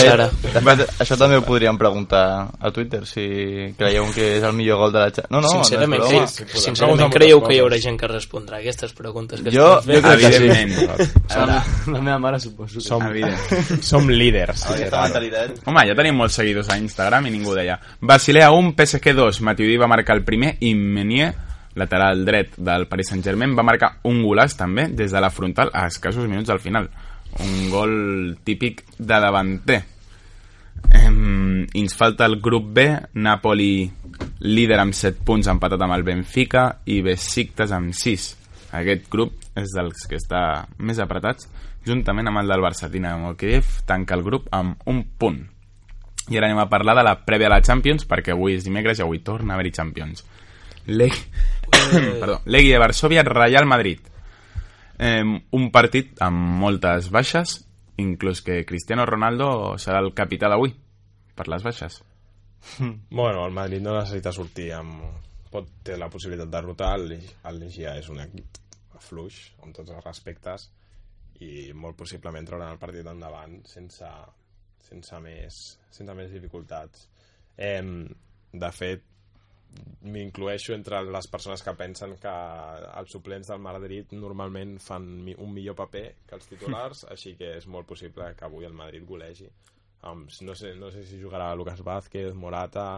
Speaker 5: fet,
Speaker 6: Sara.
Speaker 5: Eh, de fet, això també ho podríem preguntar a Twitter, si creieu que és el millor gol de la Champions. No, no,
Speaker 6: sincerament,
Speaker 5: no és
Speaker 6: cre
Speaker 5: broma.
Speaker 2: podem.
Speaker 6: sincerament
Speaker 2: Pregunta
Speaker 6: creieu
Speaker 2: moltes
Speaker 6: que hi haurà
Speaker 2: coses.
Speaker 6: gent que respondrà aquestes preguntes que
Speaker 5: Jo-
Speaker 6: estàs fent?
Speaker 5: jo crec que sí.
Speaker 1: Evidentment.
Speaker 4: La, la meva mare suposo que...
Speaker 2: Som,
Speaker 1: Evident.
Speaker 2: som líders.
Speaker 5: Aquesta mentalitat.
Speaker 1: Home, ja tenim molts seguidors a Instagram i ningú deia. Basilea 1, PSG 2, Matiudi va marcar el primer i Menier, lateral dret del Paris Saint-Germain, va marcar un golaç també des de la frontal a escassos minuts al final. Un gol típic de davanter. Em, i ens falta el grup B, Napoli líder amb 7 punts empatat amb el Benfica i Besiktas amb 6. Aquest grup és dels que està més apretats, juntament amb el del Barça. Dinamo Kiev tanca el grup amb un punt. I ara anem a parlar de la prèvia a la Champions, perquè avui és dimecres i avui torna a haver-hi Champions. Leg... (coughs) Perdó. Legui de Varsovia, Real Madrid. Eh, un partit amb moltes baixes, inclús que Cristiano Ronaldo serà el capità d'avui, per les baixes.
Speaker 2: Bueno, el Madrid no necessita sortir amb... Pot, té la possibilitat de rotar, el Lig- el Legia és un equip fluix, amb tots els respectes, i molt possiblement trauran el partit endavant sense, sense, més, sense més dificultats. Em, de fet, m'incloeixo entre les persones que pensen que els suplents del Madrid normalment fan mi- un millor paper que els titulars,
Speaker 4: (laughs)
Speaker 2: així que és molt possible que avui el Madrid golegi. Amb, no, sé, no sé si jugarà Lucas Vázquez, Morata,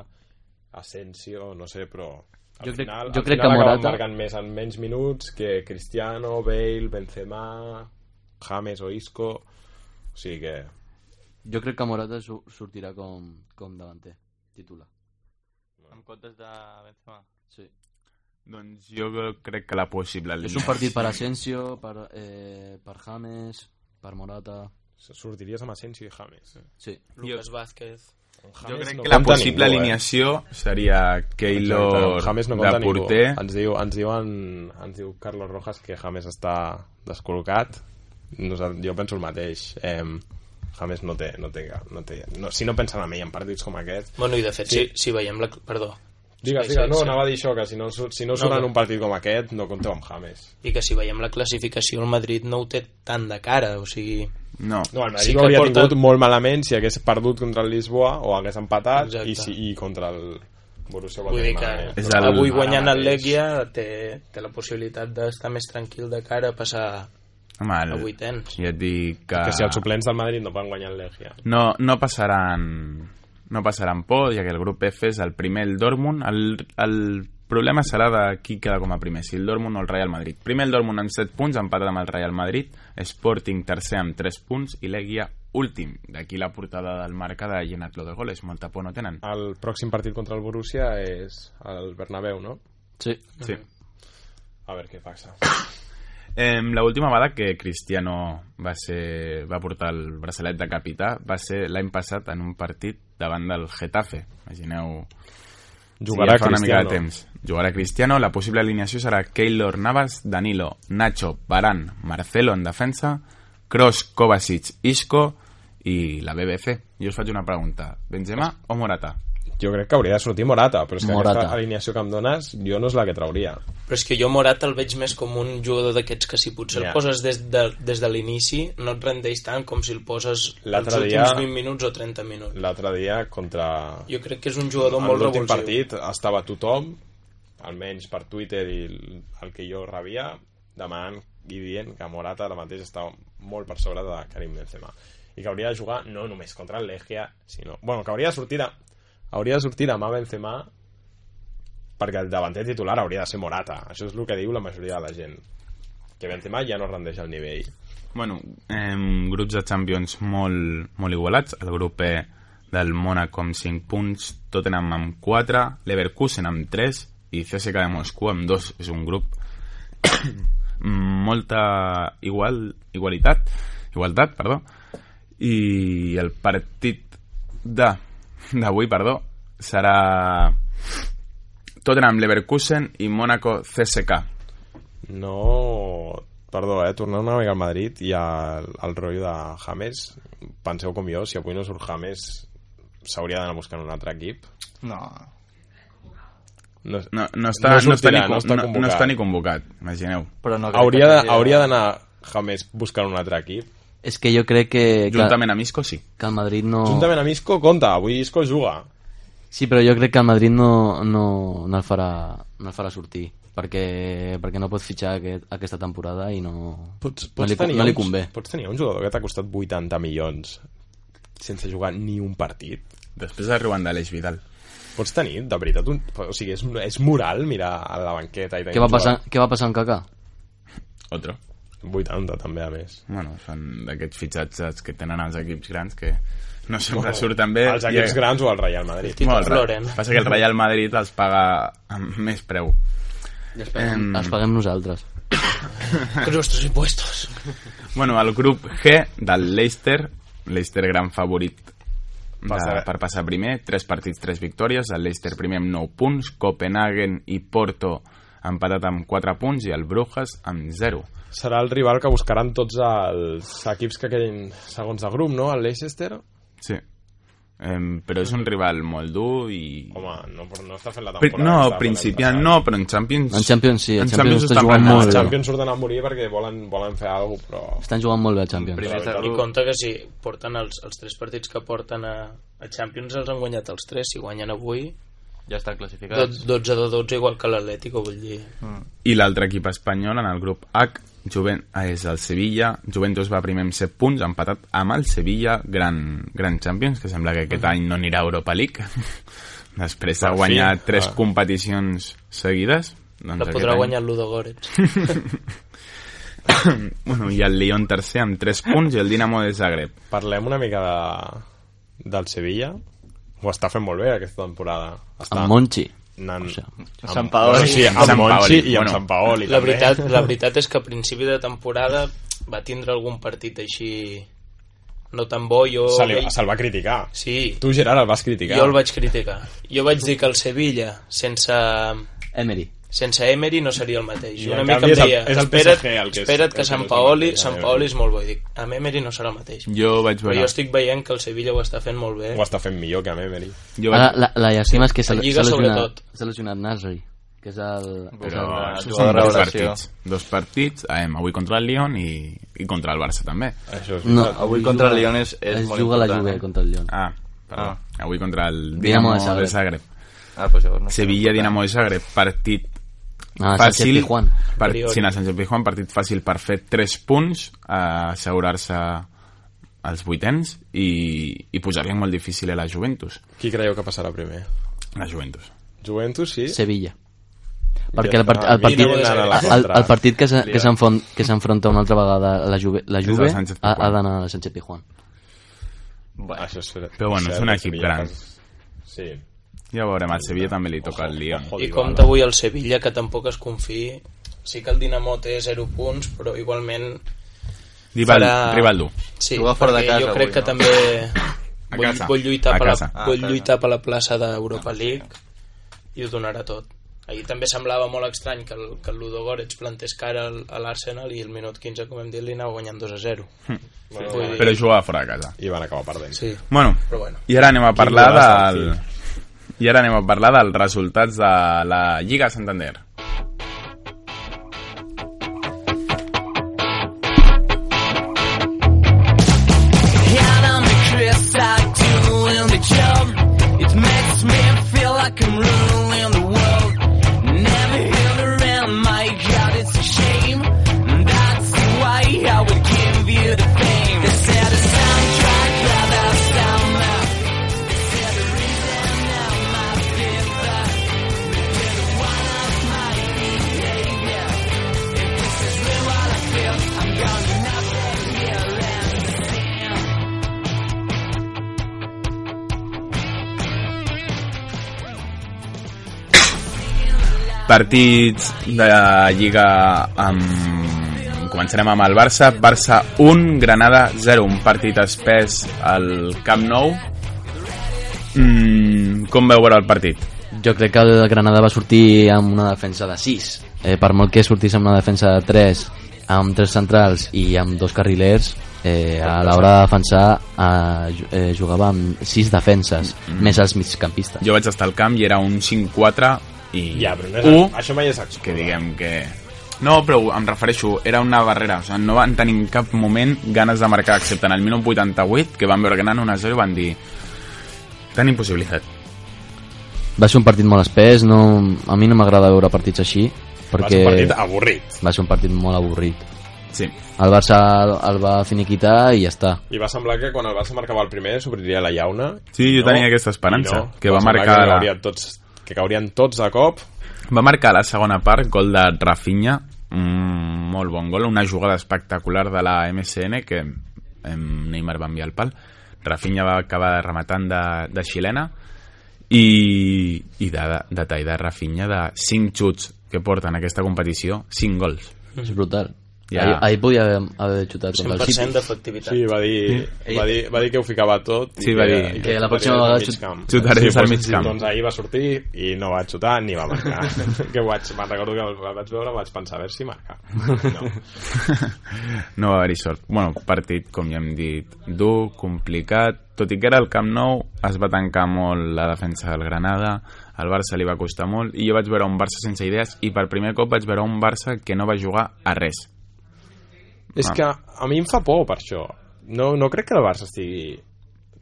Speaker 2: Asensio, no sé, però al
Speaker 4: Jo crec-
Speaker 2: final,
Speaker 4: jo
Speaker 2: al
Speaker 4: crec
Speaker 2: final
Speaker 4: que
Speaker 2: acaben
Speaker 4: Morata-
Speaker 2: marcant més en menys minuts que Cristiano, Bale, Benzema, James o Isco... O sigui que...
Speaker 4: Jo crec que Morata su sortirà com, com davanter, titular.
Speaker 5: En comptes de Benzema.
Speaker 4: Sí.
Speaker 1: Doncs jo crec que la possible
Speaker 4: És un partit per Asensio, per, eh, per James, per Morata...
Speaker 2: Sortiries amb Asensio i James.
Speaker 4: Sí.
Speaker 6: Lucas Vázquez.
Speaker 1: Jo
Speaker 2: James
Speaker 1: crec
Speaker 2: no
Speaker 1: que la
Speaker 2: compta
Speaker 1: possible
Speaker 2: ningú, eh?
Speaker 1: alineació seria Keylor
Speaker 2: Exacte, James no
Speaker 1: de
Speaker 2: compta ningú.
Speaker 1: porter,
Speaker 2: Ens diu, ens, diuen, ens diu Carlos Rojas que James està descol·locat. Nosaltres, jo penso el mateix. Eh, James no té... No té, no té no, si no pensen en ell en partits com aquest...
Speaker 6: Bueno, i de fet,
Speaker 2: Sí.
Speaker 6: si, si veiem la... Perdó.
Speaker 2: Digues,
Speaker 6: Sí,
Speaker 2: digues,
Speaker 6: sí,
Speaker 2: no,
Speaker 6: sí.
Speaker 2: anava a dir això, que si no, surt- si no surt en un partit com aquest, no compteu amb James.
Speaker 6: I que si veiem la classificació, el Madrid no ho té tan de cara, o sigui...
Speaker 1: no.
Speaker 2: No, el Madrid sí
Speaker 6: Sí que
Speaker 2: ho hauria
Speaker 6: porta-
Speaker 2: porta... tingut molt malament si hagués perdut contra el Lisboa o hagués empatat
Speaker 6: Exacte.
Speaker 2: i, si, i contra el Borussia
Speaker 6: Vull dir que
Speaker 2: Dortmund, eh?
Speaker 1: És
Speaker 6: el...
Speaker 1: el-
Speaker 6: avui
Speaker 1: ara
Speaker 6: guanyant el
Speaker 2: mateix.
Speaker 6: Legia té, té la possibilitat d'estar més tranquil de cara a passar
Speaker 1: Eh. Home, el-
Speaker 6: a vuitens.
Speaker 1: ja et dic que...
Speaker 2: Que si els suplents del Madrid no poden guanyar el Legia.
Speaker 1: No, no passaran no passaran por, ja que el grup F és el primer, el Dortmund. El, el problema serà de qui queda com a primer, si el Dortmund o el Real Madrid. Primer el Dortmund amb 7 punts, empatat amb el Real Madrid, Sporting tercer amb 3 punts i l'Eguia últim. D'aquí la portada del marca de llenar-lo de goles, molta por no tenen.
Speaker 2: El pròxim partit contra el Borussia és el Bernabéu, no?
Speaker 4: Sí.
Speaker 1: Sí.
Speaker 2: A veure què passa.
Speaker 1: Eh, L'última vegada que Cristiano va, ser, va portar el braçalet de capità va ser l'any passat en un partit davant del Getafe. Imagineu
Speaker 2: Jugarà
Speaker 1: ja fa una mica
Speaker 2: Cristiano.
Speaker 1: de temps. Jugarà Cristiano, la possible alineació serà Keylor Navas, Danilo, Nacho, Baran, Marcelo en defensa, Kroos, Kovacic, Isco i la BBC. Jo us faig una pregunta. Benzema o Morata?
Speaker 2: Jo crec que hauria de sortir Morata, però és que
Speaker 4: Morata.
Speaker 2: aquesta alineació que em dones jo no és la que trauria.
Speaker 6: Però és que jo Morata el veig més com un jugador d'aquests que si potser
Speaker 2: Ja.
Speaker 6: el poses des de, des de l'inici no et rendeix tant com si el poses els
Speaker 2: L'altre
Speaker 6: últims
Speaker 2: dia-
Speaker 6: 20 minuts o 30 minuts.
Speaker 2: L'altre dia contra...
Speaker 6: Jo crec que és un jugador
Speaker 2: en
Speaker 6: molt
Speaker 2: l'últim
Speaker 6: revulsiu.
Speaker 2: partit estava tothom, almenys per Twitter i l- el que jo rebia, demanant i dient que Morata ara mateix està molt per sobre de Karim Benzema i que hauria de jugar no només contra el Legia sinó, bueno, que hauria de sortir de, hauria de sortir de mà Benzema perquè el davanter titular hauria de ser Morata això és el que diu la majoria de la gent que Benzema ja no rendeix el nivell
Speaker 1: Bueno, em, grups de Champions molt, molt igualats. El grup E del Mónaco amb 5 punts, Tottenham amb 4, Leverkusen amb 3 i CSKA de Moscou amb 2. És un grup (coughs) molta igual, igualitat, igualtat, perdó. I el partit de d'avui, perdó, serà Tottenham Leverkusen i Mónaco CSK.
Speaker 2: No... Perdó, eh? Tornant una mica al Madrid i al, al rotllo de James, penseu com jo, si avui no surt James s'hauria d'anar buscant un altre equip.
Speaker 5: No.
Speaker 2: No,
Speaker 1: No, no, està, no,
Speaker 2: sortirà,
Speaker 1: està, ni,
Speaker 2: no està
Speaker 1: no, no
Speaker 2: convocat.
Speaker 1: està ni convocat, imagineu.
Speaker 5: Però no crec
Speaker 2: hauria
Speaker 5: que
Speaker 2: de-
Speaker 5: seria-
Speaker 2: hauria d'anar James buscant un altre equip.
Speaker 4: És que jo crec que, que,
Speaker 1: Juntament amb Isco, sí.
Speaker 4: que el Madrid no...
Speaker 2: Juntament amb Isco, compte, avui Isco juga.
Speaker 4: Sí, però jo crec que el Madrid no, no, no, el, farà, no el farà sortir perquè, perquè no pot fitxar aquest, aquesta temporada i no, no, li,
Speaker 2: tenir
Speaker 4: no li
Speaker 2: un-
Speaker 4: convé.
Speaker 2: Pots tenir un jugador que t'ha costat 80 milions sense jugar ni un partit.
Speaker 1: Després arriben de l'Eix Vidal.
Speaker 2: Pots tenir, de veritat, un... o sigui, és, és moral mirar a la banqueta i tenir
Speaker 4: Què va,
Speaker 2: un
Speaker 4: passar,
Speaker 2: jugador-
Speaker 4: què va passar amb Kaká?
Speaker 1: Otro.
Speaker 2: 80 també, a més.
Speaker 1: Bueno, són d'aquests fitxatges que tenen els equips grans que no sempre surten bé.
Speaker 2: Els equips
Speaker 1: I-
Speaker 2: grans o el Real Madrid.
Speaker 1: Bueno, el Re-
Speaker 6: Floren.
Speaker 1: Passa que el Real Madrid els paga amb més preu.
Speaker 4: Els paguem,
Speaker 1: Em.
Speaker 4: els paguem nosaltres.
Speaker 6: Que nostres impuestos.
Speaker 1: Bueno, el grup G del Leicester, Leicester gran favorit de,
Speaker 2: Passa-
Speaker 1: per passar primer, 3 partits, 3 victòries, el Leicester primer amb 9 punts, Copenhagen i Porto empatat amb 4 punts i el Brujas amb 0.
Speaker 2: Serà el rival que buscaran tots els equips que quedin segons de grup, no? El Leicester?
Speaker 1: Sí. Em, però és un rival molt dur i...
Speaker 2: Home, no, però no està fent la
Speaker 1: Pri
Speaker 2: temporada. que
Speaker 1: no,
Speaker 2: estava fent
Speaker 1: principiant
Speaker 2: l'any
Speaker 1: no, però en Champions...
Speaker 4: En Champions sí, en
Speaker 1: En
Speaker 4: Champions,
Speaker 1: Champions
Speaker 4: està
Speaker 1: estan
Speaker 4: jugant
Speaker 1: plantats.
Speaker 2: passat.
Speaker 4: molt
Speaker 2: Els
Speaker 4: bé.
Speaker 2: Champions surten a morir perquè volen, volen fer alguna cosa, però...
Speaker 4: Estan jugant molt bé el Champions.
Speaker 5: Primer de
Speaker 6: I
Speaker 5: grup.
Speaker 6: compte que si porten els, els tres partits que porten a, a Champions els han guanyat els tres. Si guanyen avui,
Speaker 5: Ja estan
Speaker 6: do-
Speaker 5: classificats.
Speaker 6: 12 de 12 igual que l'Atlético, vull dir.
Speaker 1: I l'altre equip espanyol en el grup H Juven, ah, és el Sevilla. Juventus va primer amb 7 punts, empatat amb el Sevilla, gran, gran Champions, que sembla que aquest any no anirà a Europa League. (laughs) Després de
Speaker 2: Per fi.
Speaker 1: guanyar 3
Speaker 2: Ah.
Speaker 1: competicions seguides. Doncs
Speaker 6: La
Speaker 1: aquest
Speaker 6: podrà
Speaker 1: any-
Speaker 6: guanyar el Ludo Goretz.
Speaker 1: Bueno, I el Lyon tercer amb 3 punts i el Dinamo de Zagreb.
Speaker 2: Parlem una mica de... del Sevilla. Ho està fent molt bé aquesta temporada. Està
Speaker 4: Amb Monchi.
Speaker 2: anant...
Speaker 4: O sigui,
Speaker 2: amb-
Speaker 5: Sant Paoli.
Speaker 2: Bueno, sí, amb
Speaker 1: Sant
Speaker 2: Monchi
Speaker 1: Paoli,
Speaker 2: i amb
Speaker 1: bueno.
Speaker 2: Sant Paoli.
Speaker 6: La
Speaker 2: també.
Speaker 6: veritat, la veritat és que a principi de temporada va tindre algun partit així no tan bo. Jo,
Speaker 2: Se li,
Speaker 6: veig-
Speaker 2: se'l va criticar.
Speaker 6: Sí,
Speaker 2: Tu, Gerard, el vas criticar.
Speaker 6: jo el vaig criticar. Jo vaig dir que el Sevilla, sense,
Speaker 4: Emery.
Speaker 6: sense Emery, no seria el mateix.
Speaker 2: I, en
Speaker 6: I una mica
Speaker 2: canvi,
Speaker 6: em
Speaker 2: és el-
Speaker 6: deia,
Speaker 2: és el
Speaker 6: espera't,
Speaker 2: PSG el que és- el
Speaker 6: espera't
Speaker 2: que
Speaker 6: que
Speaker 2: és
Speaker 6: Sant
Speaker 2: el
Speaker 6: Paoli,
Speaker 2: mateix,
Speaker 6: Sant
Speaker 2: eh?
Speaker 6: Paoli és molt bo. I dic, amb Emery no serà el mateix.
Speaker 1: Jo vaig
Speaker 6: Però
Speaker 1: veure...
Speaker 6: jo estic veient que el Sevilla ho està fent molt bé.
Speaker 2: Ho està fent millor que a Memery.
Speaker 1: jo vaig...
Speaker 4: Ara, la, la llàstima és que s'ha
Speaker 6: La Lliga,
Speaker 4: s'ha lesionat,
Speaker 6: sobretot.
Speaker 4: s'ha lesionat Nasri, que és el... Que és
Speaker 1: Però
Speaker 4: el
Speaker 1: això
Speaker 5: jugador
Speaker 1: són dos
Speaker 5: revelació.
Speaker 1: partits. Dos partits, em, avui contra el Lyon i, i contra el Barça també.
Speaker 2: Això és
Speaker 4: no,
Speaker 5: Avui contra el Lyon és- és
Speaker 4: es
Speaker 5: molt
Speaker 4: juga a la
Speaker 5: important,
Speaker 4: Juve
Speaker 5: eh?
Speaker 4: contra el Lyon.
Speaker 1: Ah, perdó.
Speaker 5: Ah.
Speaker 1: Avui contra el
Speaker 4: Dinamo
Speaker 1: Dinamo,
Speaker 4: de
Speaker 1: De
Speaker 4: Zagreb.
Speaker 1: Zagreb.
Speaker 5: Ah, doncs llavors no sé.
Speaker 1: Sevilla, Dinamo de Zagreb, partit
Speaker 4: Ah,
Speaker 1: fàcil.
Speaker 4: Sánchez Juan.
Speaker 1: Per,
Speaker 6: Priori.
Speaker 1: sí, no, Sánchez Pijuan, partit fàcil per fer 3 punts, eh, assegurar-se els vuitens i, i posar-li molt difícil a la Juventus.
Speaker 2: Qui creieu que passarà primer?
Speaker 1: La Juventus.
Speaker 2: Juventus, sí.
Speaker 4: Sevilla. Perquè el, part, el
Speaker 6: mi
Speaker 4: partit...
Speaker 6: no m'ho
Speaker 2: Anant a la
Speaker 4: el,
Speaker 2: contra.
Speaker 4: el partit que s'ha- que s'enfon- que s'enfronta una altra vegada a la Juve, la
Speaker 1: de
Speaker 4: Juve
Speaker 1: Sánchez
Speaker 4: ha,
Speaker 1: Pizjuán.
Speaker 4: ha d'anar a la Sánchez Pizjuán.
Speaker 2: Això és cert.
Speaker 1: Però bueno, és un
Speaker 2: Cert,
Speaker 1: equip
Speaker 2: Sevilla
Speaker 1: gran.
Speaker 2: pas- Sí.
Speaker 1: Ja veurem, al Sevilla també li toca el Lyon.
Speaker 2: ojo.
Speaker 6: I compta avui el Sevilla, que tampoc es confiï. Sí que el Dinamo té 0 punts, però igualment...
Speaker 1: Rival,
Speaker 6: farà-
Speaker 1: rival dur.
Speaker 6: Sí,
Speaker 5: Juga fora de
Speaker 6: perquè
Speaker 5: casa
Speaker 6: jo crec
Speaker 5: avui,
Speaker 6: que
Speaker 5: no?
Speaker 6: també
Speaker 1: A
Speaker 6: vull,
Speaker 1: casa.
Speaker 6: vull lluitar,
Speaker 1: A
Speaker 6: per la,
Speaker 1: casa.
Speaker 5: Ah,
Speaker 6: vull
Speaker 5: a casa.
Speaker 6: lluitar per la plaça d'Europa League i ho donarà tot. Ahir també semblava molt estrany que el, que el Ludo Goretz plantés cara al- a l'Arsenal i el minut 15, com hem dit, li anava guanyant 2 a 0.
Speaker 2: Bueno,
Speaker 6: Vull dir,
Speaker 1: Però jugava fora de casa.
Speaker 2: I van acabar perdent.
Speaker 6: Sí,
Speaker 1: Bueno,
Speaker 6: però bueno.
Speaker 1: i ara anem a parlar
Speaker 2: golaç al
Speaker 1: del... I ara anem a parlar dels resultats de la Lliga Santander. Partits de Lliga amb... Començarem amb el Barça. Barça 1, Granada 0. Un partit espès al Camp Nou. Mm, com veu veure el partit?
Speaker 4: Jo crec que el Granada va sortir amb una defensa de 6. Eh, per molt que sortís amb una defensa de 3, amb tres centrals i amb dos carrilers, eh, a l'hora de defensar eh, ju- eh, jugava amb 6 defenses,
Speaker 2: Mm.
Speaker 4: més els migcampistes.
Speaker 1: Jo vaig estar al camp i era un 5-4 i
Speaker 2: Ja, però no és,
Speaker 1: 1,
Speaker 2: això mai és excusa.
Speaker 1: que diguem que... No, però em refereixo, era una barrera, o sigui, no van tenir en cap moment ganes de marcar, excepte en el 1988, que van veure ganant 1-0 i van dir... Tan impossibilitat.
Speaker 4: Va ser un partit molt espès, no, a mi no m'agrada veure partits així,
Speaker 2: Va
Speaker 4: perquè
Speaker 2: ser un partit avorrit.
Speaker 4: va ser un partit molt avorrit.
Speaker 1: Sí.
Speaker 4: El Barça el, el va finiquitar i ja està.
Speaker 2: I va semblar que quan el Barça marcava el primer s'obriria la llauna.
Speaker 1: Sí, jo
Speaker 2: I
Speaker 1: tenia aquesta esperança,
Speaker 2: i
Speaker 1: que va
Speaker 2: semblar
Speaker 1: marcar
Speaker 2: Que
Speaker 1: la-
Speaker 2: caurien, tots, que caurien tots de cop.
Speaker 1: Va marcar la segona part, gol de Rafinha, mm, molt bon gol, una jugada espectacular de la MSN que em, Neymar va enviar al pal. Rafinha va acabar rematant de, de xilena i, i de, de, de tall de Rafinha de 5 xuts que porten aquesta competició, 5 gols.
Speaker 4: És brutal.
Speaker 1: Mm. Ja.
Speaker 4: Ja. Ahir, ahir podia haver, haver xutat contra el
Speaker 6: 100%
Speaker 4: City.
Speaker 6: d'efectivitat.
Speaker 2: Sí, va dir, va dir, va dir que ho ficava tot.
Speaker 1: Sí, va dir-
Speaker 4: Que la pròxima vegada xut-
Speaker 1: xutaré des del mig
Speaker 2: doncs,
Speaker 1: camp.
Speaker 2: Doncs ahir va sortir i no va xutar ni va marcar. (laughs) que ho vaig, me'n recordo que el vaig veure vaig pensar a veure si
Speaker 1: (laughs)
Speaker 2: marca. No.
Speaker 1: No va haver-hi sort. Bueno, partit, com ja hem dit, dur, complicat, tot i que era el Camp Nou, es va tancar molt la defensa del Granada, al Barça li va costar molt, i jo vaig veure un Barça sense idees, i per primer cop vaig veure un Barça que no va jugar a res.
Speaker 2: És
Speaker 1: Ah.
Speaker 2: que a mi em fa por per això. No, no crec que el Barça estigui...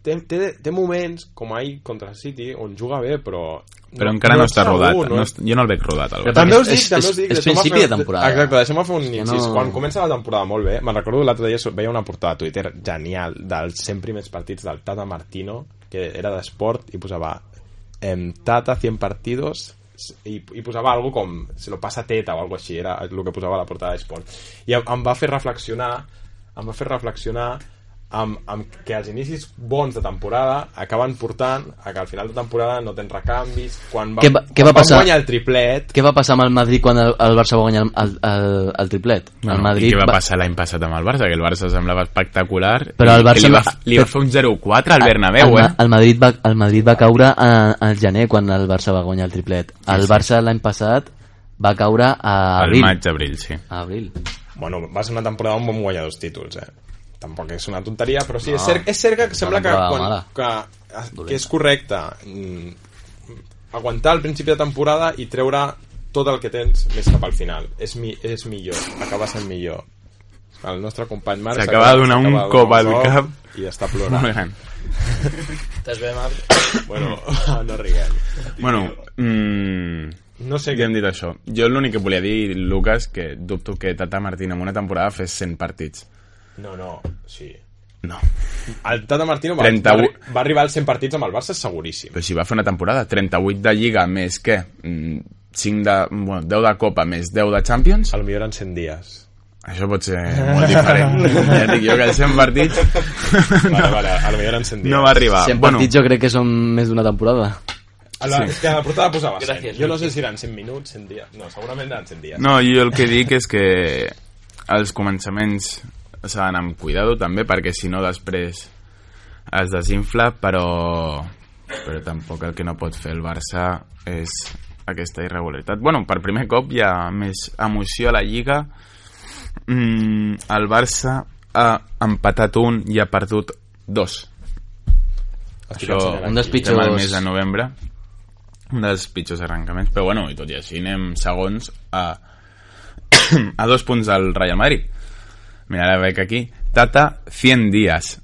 Speaker 2: Té, té, té moments, com ahir contra el City, on juga bé, però...
Speaker 1: Però encara no,
Speaker 2: et
Speaker 1: està
Speaker 2: segur,
Speaker 1: rodat,
Speaker 2: no
Speaker 1: no,
Speaker 2: et-
Speaker 1: est- jo no el veig rodat, al
Speaker 4: Però
Speaker 1: Barça.
Speaker 2: També us dic,
Speaker 4: És-
Speaker 2: també
Speaker 4: és-
Speaker 2: us dic...
Speaker 4: és
Speaker 2: deixeu-me
Speaker 4: principi
Speaker 2: fer-
Speaker 4: de temporada.
Speaker 2: Exacte, deixem-me fer un
Speaker 4: que
Speaker 2: incís.
Speaker 4: no-
Speaker 2: Quan comença la temporada molt bé, me'n recordo l'altre dia veia una portada a Twitter genial dels 100 primers partits del Tata Martino, que era d'esport, i posava em, Tata 100 partidos i, i posava algo com se lo pasa teta o algo així, era el que posava a la portada d'esport. I em, em va fer reflexionar em va fer reflexionar amb, amb que els inicis bons de temporada acaben portant a que al final de temporada no tens recanvis quan va,
Speaker 4: Què va- què
Speaker 2: quan
Speaker 4: va passar?
Speaker 2: guanyar el triplet
Speaker 4: Què va passar amb el Madrid quan el, el Barça va guanyar el, el, el, el triplet?
Speaker 1: Bueno,
Speaker 4: el
Speaker 1: I
Speaker 4: Madrid
Speaker 1: què va passar l'any passat amb el Barça? Que el Barça semblava espectacular
Speaker 4: Però
Speaker 1: i que
Speaker 4: el
Speaker 1: li
Speaker 4: Barça- Ah,
Speaker 1: va, f- li va
Speaker 4: però-
Speaker 1: fer un 0-4 al
Speaker 4: el,
Speaker 1: Bernabéu,
Speaker 4: Ma-
Speaker 1: eh?
Speaker 4: el, Madrid va, el Madrid va caure a- al gener quan el Barça va guanyar el triplet. El Barça l'any passat va caure a
Speaker 1: Al Ah,
Speaker 4: abril.
Speaker 1: maig-abril, sí.
Speaker 4: A abril.
Speaker 2: Bueno, va ser una temporada on vam guanyar dos títols, eh? Tampoc és una tonteria, però sí, no, és, cert, és cert que sembla que,
Speaker 4: temporada
Speaker 2: quan,
Speaker 4: mala.
Speaker 2: que, que és correcte mm, aguantar al principi de temporada i treure tot el que tens més cap al final. És, mi, és millor, acaba sent millor. El nostre company Marc
Speaker 1: S'acaba de donar un
Speaker 2: s'acaba de
Speaker 1: cop
Speaker 2: donar un
Speaker 1: al cap.
Speaker 2: i està
Speaker 1: Molt
Speaker 2: plorant.
Speaker 1: gran.
Speaker 6: Estàs bé, Marc?
Speaker 2: bueno, (laughs) no riguem.
Speaker 1: Bueno, mm,
Speaker 2: No sé
Speaker 1: que
Speaker 2: què...
Speaker 1: hem dit això. Jo l'únic que volia dir, Lucas, que dubto que Tata Martín en una temporada fes 100 partits.
Speaker 2: No, no, sí.
Speaker 1: No.
Speaker 2: El Tata Martino va,
Speaker 1: 31
Speaker 2: va, va arribar als 100 partits amb el Barça seguríssim.
Speaker 1: Però si va fer una temporada, 38 de Lliga més què? Mm, 5 de, bueno, 10 de Copa més 10 de Champions,
Speaker 2: A lo millor en 100 dies.
Speaker 1: això pot ser molt diferent. ja et dic jo que els 100 partits
Speaker 2: Vale,
Speaker 1: no,
Speaker 2: vale, a lo millor en 100 dies.
Speaker 1: no va arribar.
Speaker 4: 100
Speaker 1: bueno,
Speaker 4: partits jo crec que són més d'una temporada.
Speaker 2: A la, és que a la portada posava 100.
Speaker 6: Gràcies,
Speaker 2: jo no sé si eren 100 minuts, 100 dies. No, segurament eren 100 dies.
Speaker 1: No, jo el que dic és que els començaments s'han d'anar amb cuidado també, perquè si no després es desinfla, però però tampoc el que no pot fer el Barça és aquesta irregularitat. bueno, per primer cop hi ha més emoció a la Lliga. Mm, el Barça ha empatat un i ha perdut dos.
Speaker 2: Estic
Speaker 1: Això,
Speaker 2: ensenyant
Speaker 4: un dels
Speaker 2: aquí.
Speaker 1: Estem al
Speaker 4: pitjors-
Speaker 1: mes de novembre. Un dels pitjors arrencaments. Però bueno, i tot i així anem segons a, (coughs) a dos punts del Real Madrid. Mira, ara veig aquí. Tata, 100 dies.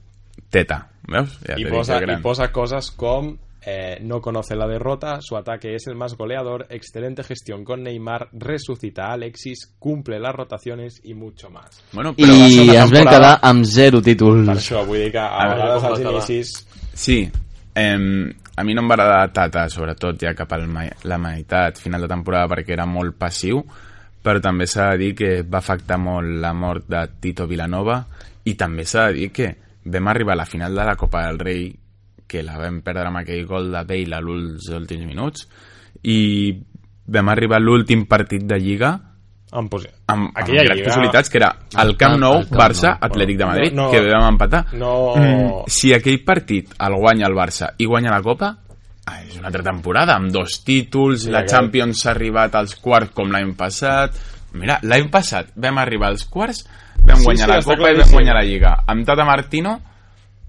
Speaker 1: Teta. Veus? Ja
Speaker 2: y
Speaker 1: t'he dit
Speaker 2: posa,
Speaker 1: que
Speaker 2: y
Speaker 1: gran.
Speaker 2: posa cosas con eh, no conoce la derrota, su ataque es el más goleador, excelente gestión con Neymar, resucita a Alexis, cumple las rotaciones y mucho más.
Speaker 1: Bueno,
Speaker 4: I
Speaker 1: però va ser una
Speaker 4: ens vam
Speaker 1: temporada-
Speaker 4: quedar amb zero
Speaker 2: Per
Speaker 4: títols.
Speaker 2: això vull dir que a
Speaker 1: veure,
Speaker 2: vegades als
Speaker 6: com va acabar?
Speaker 2: inicis
Speaker 1: Sí, eh, a mi no em va agradar Tata, sobretot ja cap a la meitat, final de temporada, perquè era molt passiu, però també s'ha de dir que va afectar molt la mort de Tito Vilanova i també s'ha de dir que vam arribar a la final de la Copa del Rei, que la vam perdre amb aquell gol de Bale a l'últims últims minuts, i vam arribar a l'últim partit de Lliga
Speaker 2: em posi-
Speaker 1: amb, amb
Speaker 2: Aquella
Speaker 1: grans
Speaker 2: Lliga-
Speaker 1: possibilitats, que era el Camp
Speaker 4: Al
Speaker 1: Nou,
Speaker 4: Camp Nou,
Speaker 1: Barça,
Speaker 4: bueno.
Speaker 1: Atlètic de Madrid,
Speaker 2: No, no.
Speaker 1: que vam empatar.
Speaker 2: No.
Speaker 1: Mm. si aquell partit el guanya el Barça i guanya la Copa, ah, és una altra temporada, amb dos títols, la
Speaker 2: aquest-
Speaker 1: Champions s'ha arribat als quarts com l'any passat... Mira, l'any passat vam arribar als quarts, vam
Speaker 2: Sí,
Speaker 1: guanyar
Speaker 2: sí,
Speaker 1: la
Speaker 2: està
Speaker 1: Copa i
Speaker 2: claríssim.
Speaker 1: vam guanyar la Lliga. Amb Tata Martino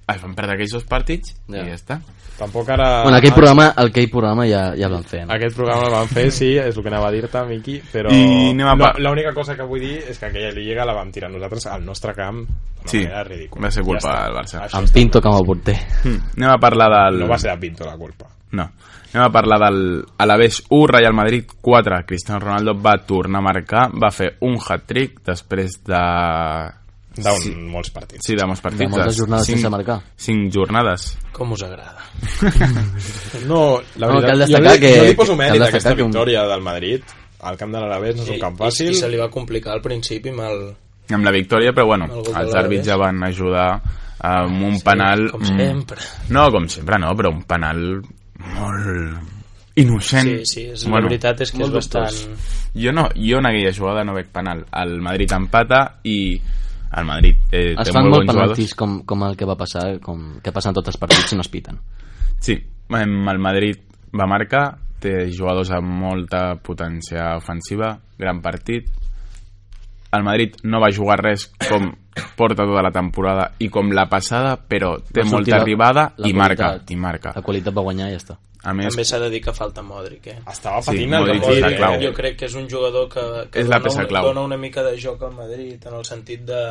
Speaker 1: es van perdre aquells dos partits
Speaker 4: Ja.
Speaker 1: i ja està.
Speaker 2: tampoc ara...
Speaker 4: Bueno, aquell programa, aquell programa ja, ja el vam fer. No?
Speaker 2: Aquest programa el van fer, sí, és el que anava a dir-te, Miqui, però
Speaker 1: I anem a
Speaker 2: no,
Speaker 1: pa-
Speaker 2: l'única cosa que vull dir és que aquella lliga la vam tirar nosaltres al nostre camp d'una
Speaker 1: Sí,
Speaker 2: manera ridícula.
Speaker 1: va ser culpa
Speaker 2: està.
Speaker 1: del Barça.
Speaker 2: Això
Speaker 4: Amb
Speaker 2: està
Speaker 4: Pinto
Speaker 2: clar.
Speaker 4: com a porter.
Speaker 1: Mm, Anem a parlar del...
Speaker 2: No va ser a Pinto la culpa.
Speaker 1: No. Anem a parlar del Alavés 1, Real Madrid 4. Cristiano Ronaldo va tornar a marcar, va fer un hat-trick després de...
Speaker 2: D'un
Speaker 1: Sí.
Speaker 2: molts partits.
Speaker 1: Sí, de molts partits.
Speaker 4: De moltes jornades sense marcar.
Speaker 1: 5 jornades.
Speaker 6: Com us agrada?
Speaker 2: No, la
Speaker 4: No,
Speaker 2: veritat,
Speaker 4: cal destacar
Speaker 2: jo, li, jo
Speaker 4: que-
Speaker 2: li poso
Speaker 4: cal
Speaker 2: mèrit a
Speaker 4: destacar
Speaker 2: aquesta
Speaker 4: que un-
Speaker 2: victòria del Madrid. Al camp de l'Alavés no és un camp fàcil.
Speaker 6: I, i se li va complicar al principi amb el...
Speaker 1: Amb la victòria, però bueno,
Speaker 6: El gol de
Speaker 1: els
Speaker 6: l'Alavés.
Speaker 1: àrbits ja van ajudar amb un penal...
Speaker 6: com
Speaker 1: mm,
Speaker 6: sempre.
Speaker 1: No, com sempre no, però un penal molt innocent.
Speaker 6: Sí, sí, és, bueno, la veritat és que és
Speaker 1: molt
Speaker 6: bastant...
Speaker 1: dubtós. Jo, no, jo en aquella jugada no veig penal. El Madrid empata i el Madrid eh,
Speaker 4: Es
Speaker 1: té
Speaker 4: fan
Speaker 1: molt
Speaker 4: molt
Speaker 1: bons jugadors.
Speaker 4: penaltis com, com el que va passar, com que passen tots els partits i no es piten.
Speaker 1: Sí, em- el Madrid va marcar, té jugadors amb molta potència ofensiva, gran partit. El Madrid no va jugar res com porta tota la temporada i com la passada, però té
Speaker 4: Va sortir
Speaker 1: molta
Speaker 4: la-
Speaker 1: arribada
Speaker 4: la
Speaker 1: i marca,
Speaker 4: qualitat.
Speaker 1: i marca.
Speaker 4: La qualitat va guanyar i ja està.
Speaker 1: A més,
Speaker 6: També s'ha de dir que falta Modric, eh?
Speaker 2: Estava
Speaker 1: Sí,
Speaker 2: patint el
Speaker 1: Modric
Speaker 6: Modric,
Speaker 1: la
Speaker 2: Madrid.
Speaker 1: clau.
Speaker 2: eh?
Speaker 6: jo crec que és un jugador que, que
Speaker 1: És la
Speaker 6: dona,
Speaker 1: peça
Speaker 6: un-
Speaker 1: clau.
Speaker 6: dona una mica de joc al Madrid en el sentit de,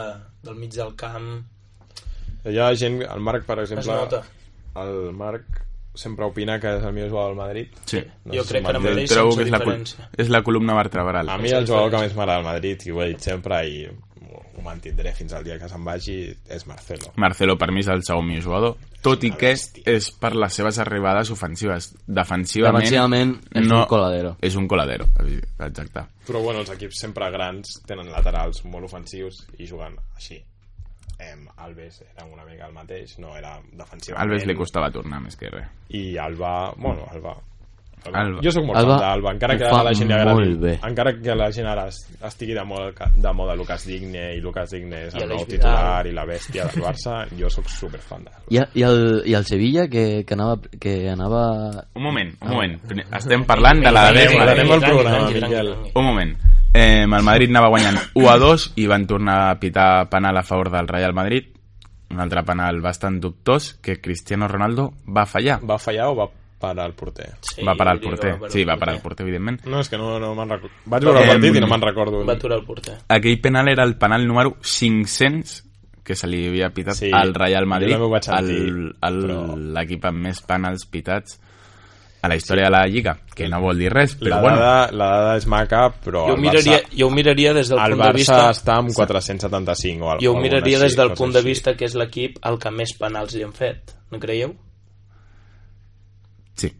Speaker 6: del mig del camp
Speaker 2: Hi ha gent, el Marc, per
Speaker 6: es
Speaker 2: exemple,
Speaker 6: nota
Speaker 2: el Marc sempre opina que és el millor jugador del Madrid.
Speaker 1: sí.
Speaker 2: No
Speaker 6: jo
Speaker 2: sé si
Speaker 6: crec que
Speaker 2: m'han
Speaker 6: ara
Speaker 1: Jo
Speaker 2: dit.
Speaker 6: mateix
Speaker 1: trobo
Speaker 6: sense
Speaker 1: que és la, col-
Speaker 6: diferència
Speaker 1: és la columna vertebral.
Speaker 2: A mi el jugador que més m'agrada al Madrid, i ho he dit sempre, i ho mantindré fins al dia que se'n vagi, és Marcelo.
Speaker 1: Marcelo per mi és el segon millor jugador, tot i que és per les seves arribades ofensives. Defensivament,
Speaker 4: Defensivament és
Speaker 1: no,
Speaker 4: un coladero.
Speaker 1: és un coladero, exacte.
Speaker 2: Però bueno, els equips sempre grans tenen laterals molt ofensius i juguen així. Em, Alves era una mica el mateix, no era defensiu.
Speaker 1: Alves li costava tornar més que res.
Speaker 2: i Alba, bueno, Alba
Speaker 1: Alba.
Speaker 2: Jo sóc molt
Speaker 4: Alba
Speaker 2: fan d'Alba, encara
Speaker 4: ho
Speaker 2: que
Speaker 4: fa
Speaker 2: a la gent li agradi,
Speaker 4: molt bé.
Speaker 2: encara que la gent ara es- estigui de moda, el ca- de moda Lucas Digne i Lucas Digne és
Speaker 6: I
Speaker 2: el nou
Speaker 6: Aleix
Speaker 2: titular i la bèstia del Barça, jo sóc superfan d'Alba.
Speaker 4: I, i, el, i el Sevilla que, que anava, que anava
Speaker 1: Un moment,
Speaker 2: Ah.
Speaker 1: un moment. Estem parlant de la
Speaker 2: Anem,
Speaker 1: Real
Speaker 2: anem
Speaker 1: Madrid.
Speaker 2: al programa,
Speaker 6: tranqui, tranqui,
Speaker 2: Miquel.
Speaker 6: tranqui.
Speaker 1: Un moment. Eh, el Madrid anava guanyant 1 a 2 i van tornar a pitar penal a favor del Real Madrid. Un altre penal bastant dubtós que Cristiano Ronaldo va fallar.
Speaker 2: Va fallar o va parar el porter?
Speaker 6: Sí,
Speaker 1: va parar el
Speaker 6: jo diria que
Speaker 1: porter. Sí, va parar el porter, evidentment.
Speaker 2: No, és que no, no me'n recordo. Vaig veure el
Speaker 1: Em-
Speaker 2: partit i no me'n recordo.
Speaker 6: va aturar el porter
Speaker 1: Aquell penal era el penal número 500 que se li havia pitat
Speaker 2: Sí,
Speaker 1: al Real Madrid,
Speaker 2: jo també ho vaig sentir,
Speaker 1: el- el-
Speaker 2: però-
Speaker 1: l'equip amb més penals pitats a la història de la Lliga, que no vol dir res,
Speaker 2: La
Speaker 1: però bueno,
Speaker 2: dada, la dada és maca, però
Speaker 6: jo ho,
Speaker 2: Oh, el
Speaker 6: miraria,
Speaker 2: Barça,
Speaker 6: jo ho miraria des del
Speaker 2: el
Speaker 6: punt de
Speaker 2: Barça
Speaker 6: vista
Speaker 2: està amb 475 o al-
Speaker 6: jo ho
Speaker 2: alguna
Speaker 6: miraria
Speaker 2: així,
Speaker 6: des del
Speaker 2: cosa
Speaker 6: punt de
Speaker 2: així.
Speaker 6: vista que és l'equip el que més penals li han fet no creieu?
Speaker 1: sí.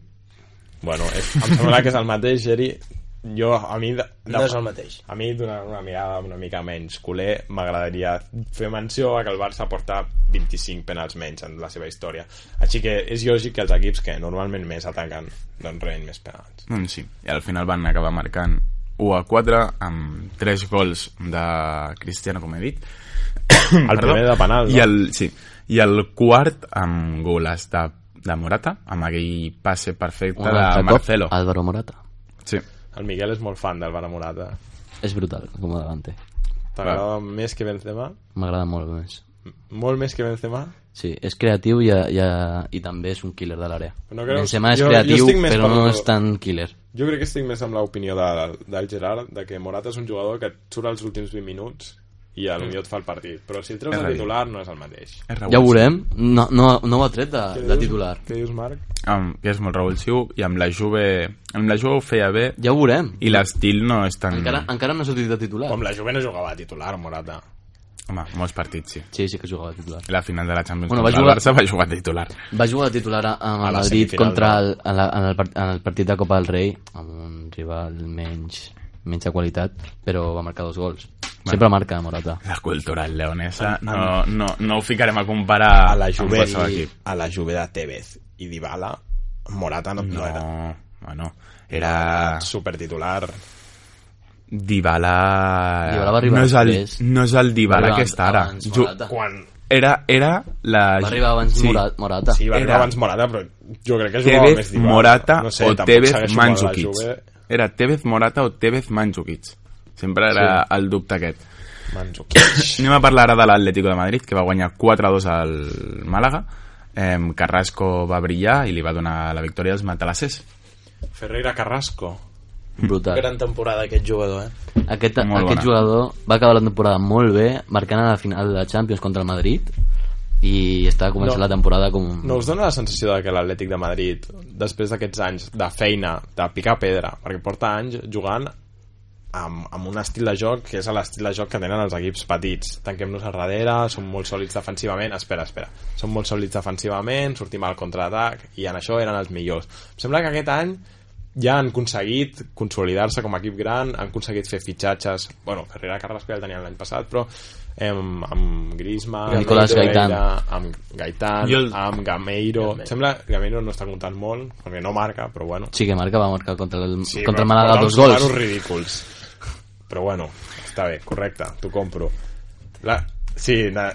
Speaker 2: Bueno, és, em sembla que és el mateix, Geri. Jo, a mi... De, de,
Speaker 6: no, és el mateix
Speaker 2: A mi, donant una mirada una mica menys culer, m'agradaria fer menció a que el Barça porta 25 penals menys en la seva història. Així que és lògic que els equips que normalment més ataquen doncs rebin més penals.
Speaker 1: Doncs sí, i al final van acabar marcant 1 a 4 amb 3 gols de Cristiano, com he dit.
Speaker 2: El primer de penal, no?
Speaker 1: I el, sí, i el quart amb goles de de Morata, amb aquell passe perfecte
Speaker 4: Un
Speaker 1: de
Speaker 4: altre cop, Ah,
Speaker 1: Marcelo.
Speaker 4: Álvaro Morata.
Speaker 1: Sí.
Speaker 2: El Miguel és molt fan del Vara Morata.
Speaker 4: És brutal, com a davante.
Speaker 2: T'agrada més que Benzema?
Speaker 4: M'agrada molt més.
Speaker 2: M- Molt més que Benzema?
Speaker 4: Sí, és creatiu i, i, i també és un killer de l'àrea.
Speaker 2: No creus?
Speaker 4: Benzema és
Speaker 2: Jo- jo
Speaker 4: creatiu,
Speaker 2: estic més
Speaker 4: però
Speaker 2: per-
Speaker 4: no és tan killer.
Speaker 2: Jo crec que estic més amb l'opinió de, del Gerard, de que Morata és un jugador que et surt els últims 20 minuts i a lo millor et fa el partit. Però si el treus
Speaker 1: És
Speaker 2: de
Speaker 1: a dir-
Speaker 2: titular no és el mateix.
Speaker 1: És
Speaker 4: Ja ho veurem. No, no, no ho ha tret de, de titular.
Speaker 2: Què dius, Marc?
Speaker 1: Amb, que és molt revulsiu i amb la Juve, amb la Juve ho feia bé
Speaker 4: Ja ho veurem.
Speaker 1: i l'estil no és tan...
Speaker 4: Encara, encara no ha sortit de titular.
Speaker 2: Com la Juve no jugava a titular, Morata.
Speaker 1: Home, molts partits, sí.
Speaker 4: Sí, sí que jugava de titular.
Speaker 1: La final de la Champions
Speaker 4: Bueno,
Speaker 1: bueno,
Speaker 4: va
Speaker 1: contra
Speaker 4: jugar-
Speaker 1: el Barça va jugar titular.
Speaker 4: Va jugar de titular a- amb
Speaker 2: A
Speaker 4: el
Speaker 2: la
Speaker 4: Madrid
Speaker 2: semifinal,
Speaker 4: contra
Speaker 2: no?
Speaker 4: el, en, la, en, el, part- en el partit de Copa del Rei, amb un rival menys, menys de qualitat, però va marcar dos gols. Sempre marca Morata.
Speaker 1: La cultura
Speaker 4: Ah.
Speaker 1: leonesa no, no, no ho ficarem a comparar
Speaker 2: A la
Speaker 1: amb
Speaker 2: Juve,
Speaker 1: qualsevol equip.
Speaker 2: a la Juve de Tevez i Dybala, Morata no, Ah. no era
Speaker 1: No, bueno, era...
Speaker 2: supertitular.
Speaker 1: Dybala...
Speaker 4: Dybala va arribar
Speaker 1: no és el,
Speaker 4: després.
Speaker 1: no és el
Speaker 4: Va
Speaker 1: Dybala
Speaker 4: arribar
Speaker 1: que està ara.
Speaker 4: abans
Speaker 1: Ju-
Speaker 4: Morata.
Speaker 2: Quan...
Speaker 1: Era, era la...
Speaker 4: Va arribar abans
Speaker 1: sí.
Speaker 4: Mora- Morata.
Speaker 2: Sí, va
Speaker 1: Era-
Speaker 2: arribar abans Morata, però jo crec que jugava més
Speaker 1: Tevez,
Speaker 2: Dybala.
Speaker 1: Morata
Speaker 2: no sé,
Speaker 1: o
Speaker 2: tampoc
Speaker 1: Tevez
Speaker 2: segueixo molt a la
Speaker 1: Mandzukic.
Speaker 2: Juve.
Speaker 1: Era Tevez Morata o Tevez Mandzukic. Sempre era el dubte aquest.
Speaker 2: Mandzukic.
Speaker 1: Anem a parlar ara de l'Atlético de Madrid, que va guanyar 4-2 al Màlaga. Eh, Carrasco va brillar i li va donar la victòria als matalassers.
Speaker 2: Ferreira Carrasco.
Speaker 4: Brutal.
Speaker 6: Gran temporada aquest jugador, eh?
Speaker 4: Aquest,
Speaker 1: Molt
Speaker 4: aquest
Speaker 1: bona.
Speaker 4: jugador va acabar la temporada molt bé, marcant a la final de la Champions contra el Madrid i està començant
Speaker 2: No.
Speaker 4: la temporada com... un-
Speaker 2: No us dona la sensació de que l'Atlètic de Madrid, després d'aquests anys de feina, de picar pedra, perquè porta anys jugant amb, amb un estil de joc que és l'estil de joc que tenen els equips petits. Tanquem-nos a darrere, som molt sòlids defensivament... Espera, espera. Som molt sòlids defensivament, sortim al contraatac, i en això eren els millors. Em sembla que aquest any ja han aconseguit consolidar-se com a equip gran, han aconseguit fer fitxatges... Bueno, Ferreira Carrasco ja el tenien l'any passat, però eh, amb, amb Griezmann...
Speaker 4: Nicolás
Speaker 2: amb Ferreira,
Speaker 4: Gaitán.
Speaker 2: Amb Gaitán,
Speaker 1: Jo el-
Speaker 2: amb Gameiro... Em sembla que Gameiro no està comptant molt, perquè no marca, però bueno...
Speaker 4: Sí que marca, va marcar contra el,
Speaker 2: Sí,
Speaker 4: contra el
Speaker 2: però
Speaker 4: Málaga
Speaker 2: portava
Speaker 4: dos
Speaker 2: uns
Speaker 4: gols.
Speaker 2: números ridículs. Però bueno, està bé, correcte, t'ho compro. La... Sí, na...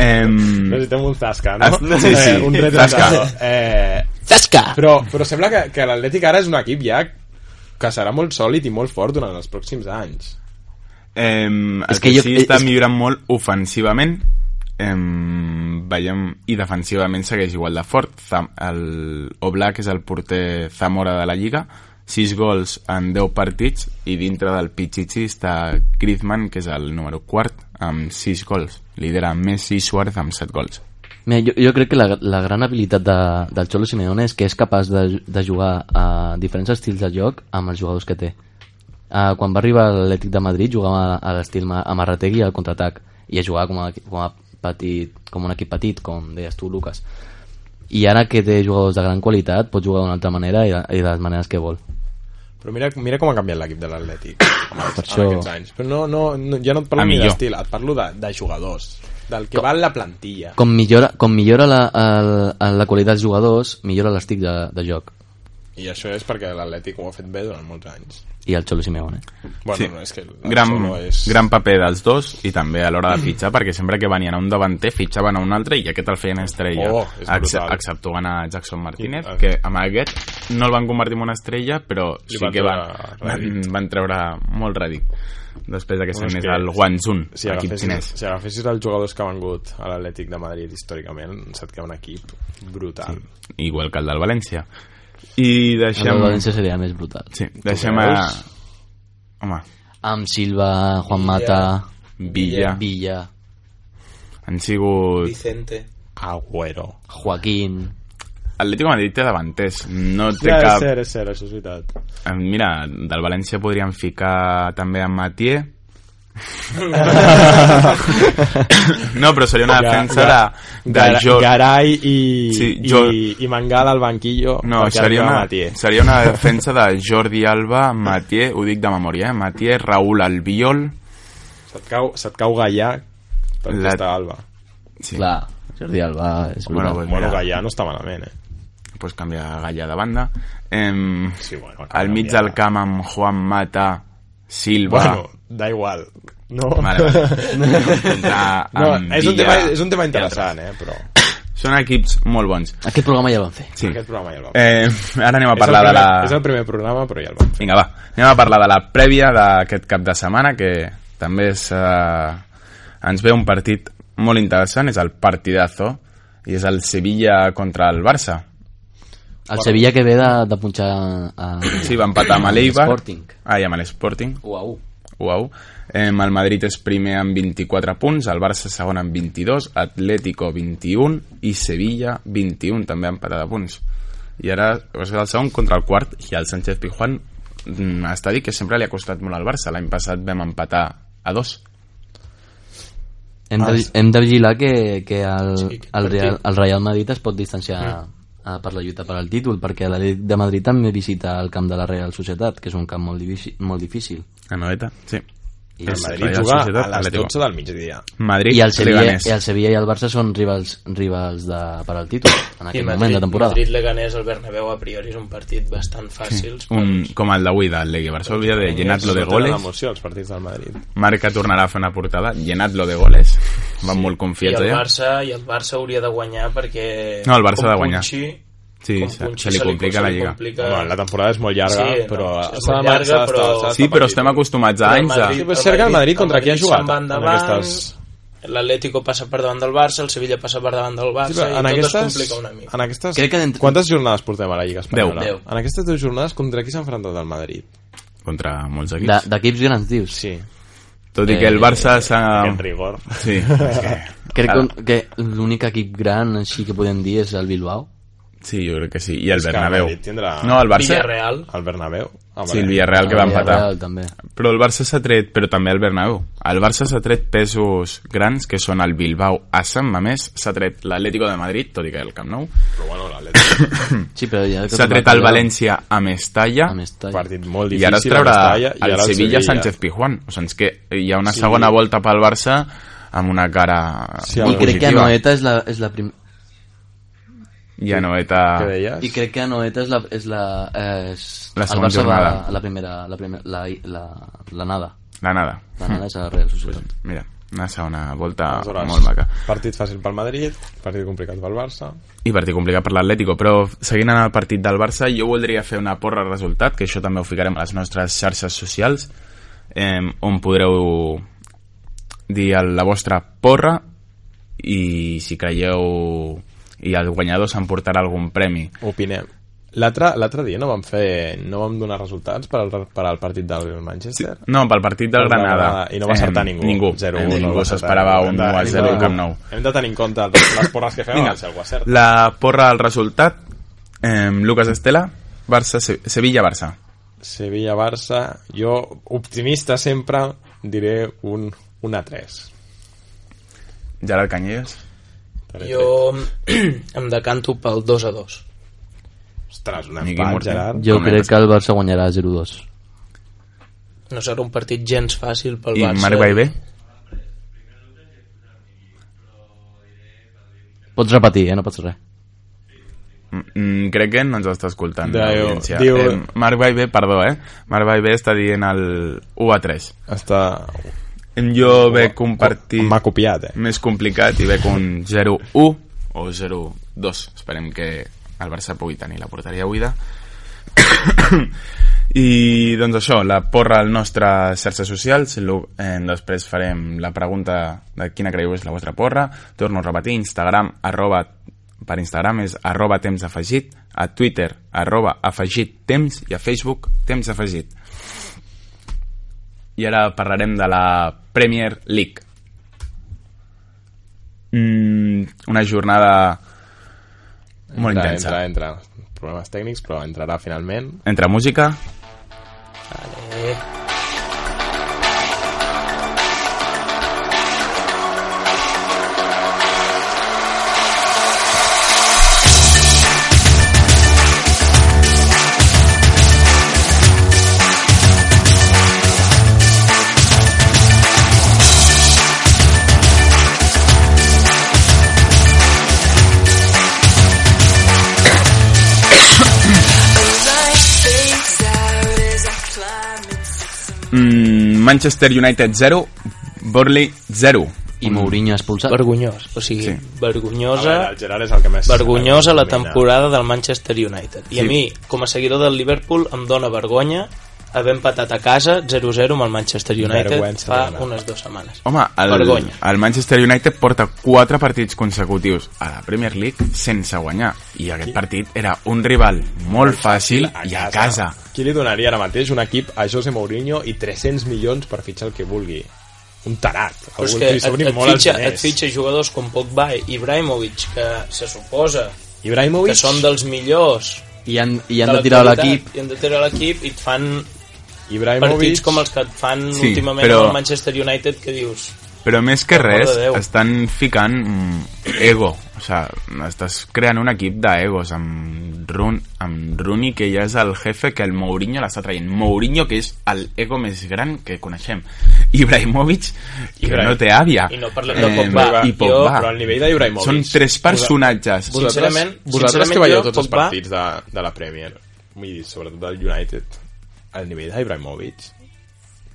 Speaker 1: Em,
Speaker 2: (laughs) necessitem un Zasca, no?
Speaker 1: Ah, sí, sí.
Speaker 2: Eh, un retratador. Eh,
Speaker 4: Zasca!
Speaker 2: però, però sembla que, que l'Atlètic ara és un equip ja que serà molt sòlid i molt fort durant els pròxims anys.
Speaker 1: Em, el
Speaker 4: És
Speaker 1: que,
Speaker 4: que jo-
Speaker 1: sí està
Speaker 4: és-
Speaker 1: millorant molt ofensivament em, veiem i defensivament segueix igual de fort Zam, el Oblak és el porter Zamora de la Lliga 6 gols en 10 partits i dintre del Pichichi està Griezmann que és el número quart amb 6 gols lidera Messi i Suárez amb 7 gols
Speaker 4: Mira, jo, jo crec que la, la gran habilitat de, del Xolo Simeone és que és capaç de, de jugar a diferents estils de joc amb els jugadors que té. Uh, quan va arribar a l'Atlètic de Madrid jugava a, a l'estil Ma- a Marrategui al contraatac i a jugar com a, com a petit, com un equip petit, com deies tu, Lucas. I ara que té jugadors de gran qualitat pot jugar d'una altra manera i de, i de les maneres que vol.
Speaker 2: Però mira, mira com ha canviat l'equip de
Speaker 4: (coughs)
Speaker 2: l'Atlètic en
Speaker 4: Per
Speaker 2: aquests- en
Speaker 4: això- Ah,
Speaker 2: aquests anys. Però no, no, no, ja no et parlo
Speaker 1: A
Speaker 2: ni
Speaker 1: millor.
Speaker 2: d'estil, et parlo de, de jugadors, del que val la plantilla.
Speaker 4: Com millora, com millora la, el, el- la qualitat dels jugadors, millora l'estil de, de joc.
Speaker 2: I això és perquè l'Atlètic ho ha fet bé durant molts anys.
Speaker 4: I el Xolo Simeone.
Speaker 2: Bueno,
Speaker 1: Sí.
Speaker 2: no, és que el
Speaker 1: gran,
Speaker 2: Solo és...
Speaker 1: gran paper dels dos i també a l'hora de fitxar perquè sempre que venien a un davanter fitxaven a un altre i aquest el feien estrella
Speaker 2: Oh, és
Speaker 1: ex-
Speaker 2: brutal. ah.
Speaker 1: exceptuant a Jackson Martínez
Speaker 2: I-
Speaker 1: que amb aquest no el van convertir en una estrella però
Speaker 2: Li
Speaker 1: sí
Speaker 2: van
Speaker 1: que van,
Speaker 2: treure
Speaker 1: van,
Speaker 2: rèdit.
Speaker 1: van treure molt rèdit després de que
Speaker 2: Bueno, és
Speaker 1: s'anés
Speaker 2: que
Speaker 1: al Guangzhou
Speaker 2: si
Speaker 1: equip xinès
Speaker 2: agafessis, si agafessis els jugadors que han vengut a l'Atlètic de Madrid històricament, se't queda un equip brutal. Sí.
Speaker 1: igual que el del València i
Speaker 4: El
Speaker 1: deixem
Speaker 4: València seria més brutal.
Speaker 1: sí, deixem a...
Speaker 2: veus?
Speaker 1: home,
Speaker 4: Amb Silva, Juan Mata,
Speaker 1: Villa
Speaker 4: Villa,
Speaker 1: han sigut
Speaker 6: Vicente.
Speaker 2: Agüero.
Speaker 4: Joaquín...
Speaker 1: Atlético de Madrid té davanters no té
Speaker 2: Ja, és
Speaker 1: cap
Speaker 2: cert, és cert, això és veritat.
Speaker 1: Eh, Mira, del València podríem ficar també en
Speaker 2: (laughs)
Speaker 1: Matier. no, però seria una
Speaker 2: Ga-
Speaker 1: defensa
Speaker 2: ga-
Speaker 1: de, de
Speaker 2: Gara-
Speaker 1: jo...
Speaker 2: Garay i,
Speaker 1: Sí, jo-
Speaker 2: jo... i, i Mangala al banquillo.
Speaker 1: No,
Speaker 2: perquè
Speaker 1: seria
Speaker 2: arriba
Speaker 1: una,
Speaker 2: Matié.
Speaker 1: seria una defensa de Jordi Alba, Matier, ho dic de memòria, eh? Matier, Raúl Albiol...
Speaker 2: Se't cau, se't cau Gaià per
Speaker 1: La-
Speaker 2: la... aquesta Alba.
Speaker 1: Sí.
Speaker 4: Clar, Jordi Alba és
Speaker 1: Bueno,
Speaker 4: brutal.
Speaker 1: pues
Speaker 2: Bueno,
Speaker 1: mira,
Speaker 2: Gaià no està malament, eh?
Speaker 1: pues canvia Gallà de banda. Em,
Speaker 2: Sí, bueno,
Speaker 1: al mig del camp amb Juan Mata, Silva...
Speaker 2: Bueno, da igual. No?
Speaker 1: Vale, vale. Contra
Speaker 2: No,
Speaker 1: amb
Speaker 2: (laughs) és un,
Speaker 1: Villa
Speaker 2: tema, és un tema
Speaker 1: i altres.
Speaker 2: interessant, eh? Però...
Speaker 1: Són equips molt bons.
Speaker 4: Aquest programa ja el vam fer.
Speaker 1: Sí.
Speaker 2: Aquest programa ja el vam fer.
Speaker 1: Eh, ara anem a
Speaker 2: és, el
Speaker 1: parlar de
Speaker 2: primer,
Speaker 1: la...
Speaker 2: és el primer programa, però ja el vam fer.
Speaker 1: Vinga, va. Anem a parlar de la prèvia d'aquest cap de setmana, que també és, eh, ens ve un partit molt interessant, és el partidazo, i és el Sevilla contra el Barça.
Speaker 4: El Sevilla que ve de, de punxar a...
Speaker 1: Sí, va empatar amb l'Eibar.
Speaker 4: Sporting.
Speaker 1: Ah, i amb l'Sporting.
Speaker 4: Uau.
Speaker 1: Uau. Eh, el Madrid és primer amb 24 punts, el Barça segon amb 22, Atlético 21 i Sevilla 21, també ha empatat a punts. I ara és el segon contra el quart i el Sánchez Pijuan mm, està dit que sempre li ha costat molt al Barça. L'any passat vam empatar a dos.
Speaker 4: Hem de,
Speaker 2: Ah.
Speaker 4: hem de vigilar que, que el,
Speaker 6: Sí, que
Speaker 4: el,
Speaker 6: partit.
Speaker 4: Real, el Real Madrid es pot distanciar eh, per la lluita per al títol, perquè l'Atlètic de Madrid també visita el camp de la Real Societat, que és un camp molt, divici, molt difícil.
Speaker 1: A noveta, sí.
Speaker 4: I
Speaker 1: És
Speaker 2: El Madrid
Speaker 1: Real
Speaker 2: juga
Speaker 1: Sociedad,
Speaker 2: a les
Speaker 1: Atlético.
Speaker 2: 12 del migdia.
Speaker 1: Madrid,
Speaker 4: I el, Sevilla,
Speaker 1: Leganés.
Speaker 4: I el Sevilla i el Barça són rivals, rivals de, per al títol en
Speaker 6: I
Speaker 4: aquest moment
Speaker 6: Madrid,
Speaker 4: de temporada.
Speaker 6: Madrid Leganés al Bernabéu a priori és un partit bastant fàcil.
Speaker 1: Un, com el d'avui del Legui Varsovia, de llenat-lo de
Speaker 2: Surten a
Speaker 1: goles.
Speaker 2: l'emoció els partits del Madrid.
Speaker 1: Marca tornarà a fer una portada, llenat-lo de goles. Van molt
Speaker 6: I
Speaker 1: confiats
Speaker 6: el,
Speaker 1: allà.
Speaker 6: Barça, I el Barça hauria de guanyar perquè...
Speaker 1: No, el Barça
Speaker 6: com
Speaker 1: ha de guanyar.
Speaker 6: punxi-
Speaker 1: Sí,
Speaker 6: com
Speaker 1: se,
Speaker 6: punxi
Speaker 1: se li complica
Speaker 6: se
Speaker 1: la
Speaker 6: li
Speaker 1: lliga.
Speaker 6: complica-
Speaker 2: Home, la temporada és molt llarga,
Speaker 6: Sí, no,
Speaker 2: però...
Speaker 6: és molt
Speaker 2: s'ha de marxar,
Speaker 6: llarga,
Speaker 2: s'ha
Speaker 6: però-
Speaker 1: Sí,
Speaker 2: d'estar- s'ha d'estar
Speaker 1: però
Speaker 2: partit.
Speaker 1: estem acostumats a
Speaker 6: Però el
Speaker 1: anys
Speaker 6: Madrid-
Speaker 1: de...
Speaker 2: Sí, però és cert que el Madrid contra qui ha
Speaker 6: Madrid
Speaker 2: jugat
Speaker 6: se'n va
Speaker 2: en
Speaker 6: endavant,
Speaker 2: aquestes-
Speaker 6: L'Atlético passa per davant del Barça, el Sevilla passa per davant del Barça
Speaker 2: Sí, però
Speaker 6: i
Speaker 2: en,
Speaker 6: tot
Speaker 2: aquestes,
Speaker 6: es complica una mica.
Speaker 2: en aquestes...
Speaker 4: Crec que d'entre-
Speaker 2: Quantes jornades portem a la Lliga Espanyola?
Speaker 1: Deu.
Speaker 2: En aquestes dues jornades, contra qui s'ha enfrontat el Madrid?
Speaker 1: Contra molts equips.
Speaker 4: De- D'equips grans, dius.
Speaker 2: Sí,
Speaker 1: Tot i que
Speaker 6: Eh,
Speaker 1: el Barça s'ha...
Speaker 2: en rigor.
Speaker 6: (laughs)
Speaker 1: Sí, és que...
Speaker 4: Crec
Speaker 1: Ara-
Speaker 4: que, que l'únic equip gran així que podem dir és el Bilbao.
Speaker 1: Sí, jo crec que sí. I el
Speaker 2: És que el
Speaker 1: Bernabéu.
Speaker 2: Madrid tindrà-
Speaker 1: No, el Barça...
Speaker 6: Villarreal.
Speaker 2: El Bernabéu? Ah,
Speaker 1: Sí, el Villarreal que va
Speaker 4: El
Speaker 1: empatar.
Speaker 4: Villarreal, també.
Speaker 1: Però el Barça s'ha tret, però també el Bernabéu. El Barça s'ha tret pesos grans, que són el Bilbao a Sant Mamés, s'ha tret l'Atlético de Madrid, tot i que el Camp Nou,
Speaker 4: Sí, però ja...
Speaker 1: s'ha tret el València a Mestalla,
Speaker 4: A Mestalla.
Speaker 2: Partit molt
Speaker 1: i
Speaker 2: difícil.
Speaker 1: ara es traurà
Speaker 2: a Mestalla, i
Speaker 1: el
Speaker 2: ara
Speaker 1: Sevilla Sánchez Pijuan. O sigui, és que hi ha una segona volta pel Barça amb una cara
Speaker 2: Sí,
Speaker 1: molt
Speaker 4: I crec que
Speaker 1: positiva.
Speaker 4: Anoeta és la, és la prim...
Speaker 1: I Anoeta...
Speaker 2: Què deies?
Speaker 4: I crec que Anoeta és la... És la, eh, és...
Speaker 1: La
Speaker 4: el
Speaker 1: segona
Speaker 4: Barça
Speaker 1: jornada.
Speaker 4: Va, la primera... La, primera, la, la, la nada.
Speaker 1: La nada.
Speaker 4: La nada és a Real Societat.
Speaker 1: Mira, una segona volta
Speaker 2: Aleshores,
Speaker 1: ah, molt maca.
Speaker 2: Partit fàcil pel Madrid, partit complicat pel Barça.
Speaker 1: I partit complicat per l'Atlético, però seguint en el partit del Barça, jo voldria fer una porra al resultat, que això també ho ficarem a les nostres xarxes socials, eh, on podreu dir el- la vostra porra i si creieu i el guanyador s'emportarà algun premi.
Speaker 2: Opinem. L'altre l'altre dia no vam fer... No vam donar resultats per al, per al partit del Manchester?
Speaker 1: No, pel partit del
Speaker 2: El de
Speaker 1: Granada.
Speaker 2: I no va acertar ningú.
Speaker 1: Ningú,
Speaker 2: Zero,
Speaker 1: Eh,
Speaker 2: no va
Speaker 1: ningú
Speaker 2: acertar.
Speaker 1: s'esperava
Speaker 2: Hem
Speaker 1: un 1
Speaker 2: de-
Speaker 1: a
Speaker 2: hem
Speaker 1: 0
Speaker 2: de-
Speaker 1: al Camp Nou.
Speaker 2: Hem de tenir en compte les porres que fem
Speaker 1: Vinga,
Speaker 2: abans si algú acerta.
Speaker 1: la porra al resultat, eh, Lucas Estela, Barça, Se- Sevilla-Barça.
Speaker 2: Sevilla-Barça, jo, optimista sempre, diré un 1 a 3.
Speaker 1: Gerard Canyelles.
Speaker 6: Jo (clears throat) em decanto pel 2 a 2.
Speaker 2: Ostres, un
Speaker 1: Miqui
Speaker 2: empat,
Speaker 1: Morty.
Speaker 2: Gerard.
Speaker 4: Jo
Speaker 1: Com
Speaker 4: crec
Speaker 1: és?
Speaker 4: que el Barça guanyarà 0-2.
Speaker 6: No serà un partit gens fàcil pel
Speaker 1: I
Speaker 6: Barça.
Speaker 1: Marc Baivé.
Speaker 4: Pots repetir, eh? No passa res.
Speaker 1: Mm, crec que no ens està escoltant
Speaker 2: Diu-
Speaker 1: l'audiència.
Speaker 2: diu-
Speaker 1: Eh, Marc Baivé, perdó, eh? Marc Baivé està dient el 1 a 3.
Speaker 2: Està...
Speaker 1: Jo veig un partit
Speaker 2: M'ha copiat, eh?
Speaker 1: més complicat i veig un 0-1 o 0-2. Esperem que el Barça pugui tenir la porteria buida. (coughs) I doncs això, la porra al nostre xarxes socials, lo- eh, després farem la pregunta de quina creieu és la vostra porra, torno a repetir, Instagram, arroba, per Instagram és arroba temps afegit, a Twitter, arroba afegit temps, i a Facebook, temps afegit. I ara parlarem de la Premier League. Mm, una jornada molt
Speaker 2: entra,
Speaker 1: intensa.
Speaker 2: Entra, entra. Problemes tècnics, però entrarà finalment.
Speaker 1: Entra música,
Speaker 6: Vale.
Speaker 1: Mm, Manchester United 0, Burnley 0.
Speaker 4: i Mourinho expulsat.
Speaker 6: Vergonyós, o sigui,
Speaker 1: Sí.
Speaker 2: A
Speaker 6: vergonyosa...
Speaker 2: veure, el Gerard és el que més...
Speaker 6: vergonyosa la
Speaker 2: domina.
Speaker 6: temporada del Manchester United. I a
Speaker 1: Sí.
Speaker 6: mi, com a seguidor del Liverpool, em dóna vergonya haver empatat a casa 0-0 amb el Manchester United
Speaker 2: Vergüenza
Speaker 6: fa
Speaker 2: ajena.
Speaker 6: unes dues setmanes.
Speaker 1: Home, el,
Speaker 6: Vergonya.
Speaker 1: el Manchester United porta 4 partits consecutius a la Premier League sense guanyar i aquest partit era un rival molt fàcil i a casa.
Speaker 2: Qui li donaria ara mateix un equip a José Mourinho i 300 milions per fitxar el que vulgui? Un tarat.
Speaker 6: Però és
Speaker 2: Algú
Speaker 6: que
Speaker 2: que li
Speaker 6: et,
Speaker 2: sobrin
Speaker 6: et,
Speaker 2: molt
Speaker 6: fitxa,
Speaker 2: els
Speaker 6: et
Speaker 2: diners.
Speaker 6: fitxa jugadors com Pogba i Ibrahimovic, que se suposa
Speaker 2: Ibrahimovic...
Speaker 6: que són dels millors
Speaker 4: I han, i han
Speaker 6: de
Speaker 4: de tirar
Speaker 1: tota
Speaker 6: l'actualitat,
Speaker 4: l'equip.
Speaker 6: i han de tirar l'equip i et fan
Speaker 2: Ibrahimovic...
Speaker 6: partits com els que et fan
Speaker 1: Sí,
Speaker 6: últimament
Speaker 1: però-
Speaker 6: al Manchester United que dius
Speaker 1: Però més que
Speaker 6: Per amor
Speaker 1: res,
Speaker 6: de Déu.
Speaker 1: estan ficant mm, ego. O sigui, estàs creant un equip d'egos amb, Run, amb Rooney, que ja és el jefe que el Mourinho l'està traient. Mourinho, que és el ego més gran que coneixem. Ibrahimovic, que
Speaker 2: Ibrahim-
Speaker 1: no té àvia. Eh,
Speaker 6: I no parlem de Pogba.
Speaker 1: I
Speaker 6: Jo-
Speaker 1: Pogba.
Speaker 2: però al nivell d'Ibrahimovic.
Speaker 1: Són tres personatges.
Speaker 6: Vosaltres- Sincerament-
Speaker 2: vosaltres
Speaker 6: sincerament
Speaker 2: que veieu
Speaker 6: jo,
Speaker 2: tots els
Speaker 6: Pogba-
Speaker 2: partits de, de la Premier, vull dir, sobretot del United, el nivell d'Ibrahimovic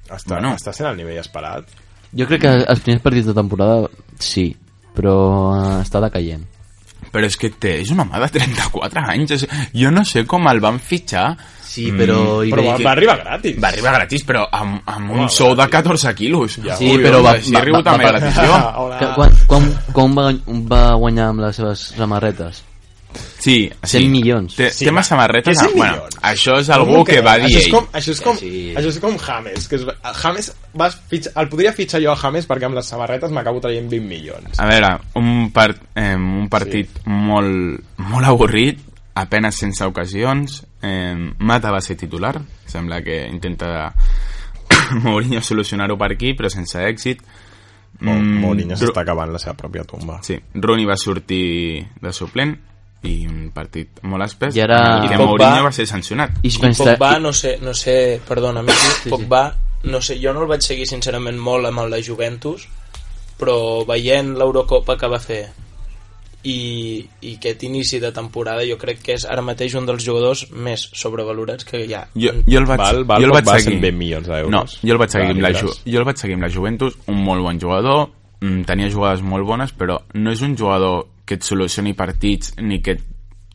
Speaker 2: està,
Speaker 1: Bueno.
Speaker 2: bueno. està sent el nivell esperat.
Speaker 4: Jo crec que els primers partits de temporada sí, però eh, està decaient.
Speaker 1: Però és que té, és un home de 34 anys. És, jo no sé com el van fitxar.
Speaker 4: Sí, però... Mm,
Speaker 2: Però va, va arribar gratis.
Speaker 1: Va arribar gratis, però amb, amb un
Speaker 2: Home,
Speaker 1: sou de 14 quilos. Ja.
Speaker 4: Sí, però va-
Speaker 1: Si
Speaker 4: va-
Speaker 1: riu
Speaker 4: va-
Speaker 1: també
Speaker 4: va-
Speaker 1: la l'afició.
Speaker 2: Ah, Hola.
Speaker 4: Que, quan, quan, quan va, guany- va guanyar amb les seves samarretes?
Speaker 1: Sí,
Speaker 4: 100
Speaker 1: sí.
Speaker 4: milions.
Speaker 1: Té,
Speaker 2: Sí,
Speaker 1: sí, tema
Speaker 2: va.
Speaker 1: samarretes...
Speaker 2: Que 100
Speaker 1: bueno,
Speaker 2: milions.
Speaker 1: això és algú que va dir
Speaker 2: això és
Speaker 1: ell.
Speaker 2: com, això és com,
Speaker 4: Sí.
Speaker 2: això és com James, que és, James va fitxar, el podria fitxar jo a James perquè amb les samarretes m'acabo traient 20 milions.
Speaker 1: A veure, un, part, eh, un partit sí. molt, molt avorrit, apenas sense ocasions. Eh, Mata va ser titular, sembla que intenta (coughs) Mourinho solucionar-ho per aquí, però sense èxit. Mm,
Speaker 2: Mourinho
Speaker 1: Ru-
Speaker 2: s'està acabant la seva pròpia tomba.
Speaker 1: Sí, Rooney va sortir de suplent i un partit molt espès.
Speaker 4: I ara-
Speaker 1: en el
Speaker 4: I
Speaker 1: que
Speaker 6: Pogba-
Speaker 1: Mourinho va ser sancionat.
Speaker 4: I
Speaker 6: I
Speaker 4: Schweinsteiger-
Speaker 6: Pogba, no sé, no sé, perdona, a mi Pogba, no sé, jo no el vaig seguir sincerament molt amb la Juventus, però veient l'Eurocopa que va fer i, i aquest inici de temporada jo crec que és ara mateix un dels jugadors més sobrevalorats que hi ha.
Speaker 1: Jo, jo el vaig,
Speaker 2: Mm. Val- val
Speaker 1: jo el
Speaker 2: poc
Speaker 1: vaig
Speaker 2: va
Speaker 1: seguir.
Speaker 2: 120 milions d'euros.
Speaker 1: No, jo el vaig seguir,
Speaker 2: Va,
Speaker 1: amb la, Ju
Speaker 2: lliures.
Speaker 1: jo el vaig seguir amb la Juventus, un molt bon jugador, mm, tenia jugades molt bones, però no és un jugador que et solucioni partits ni que et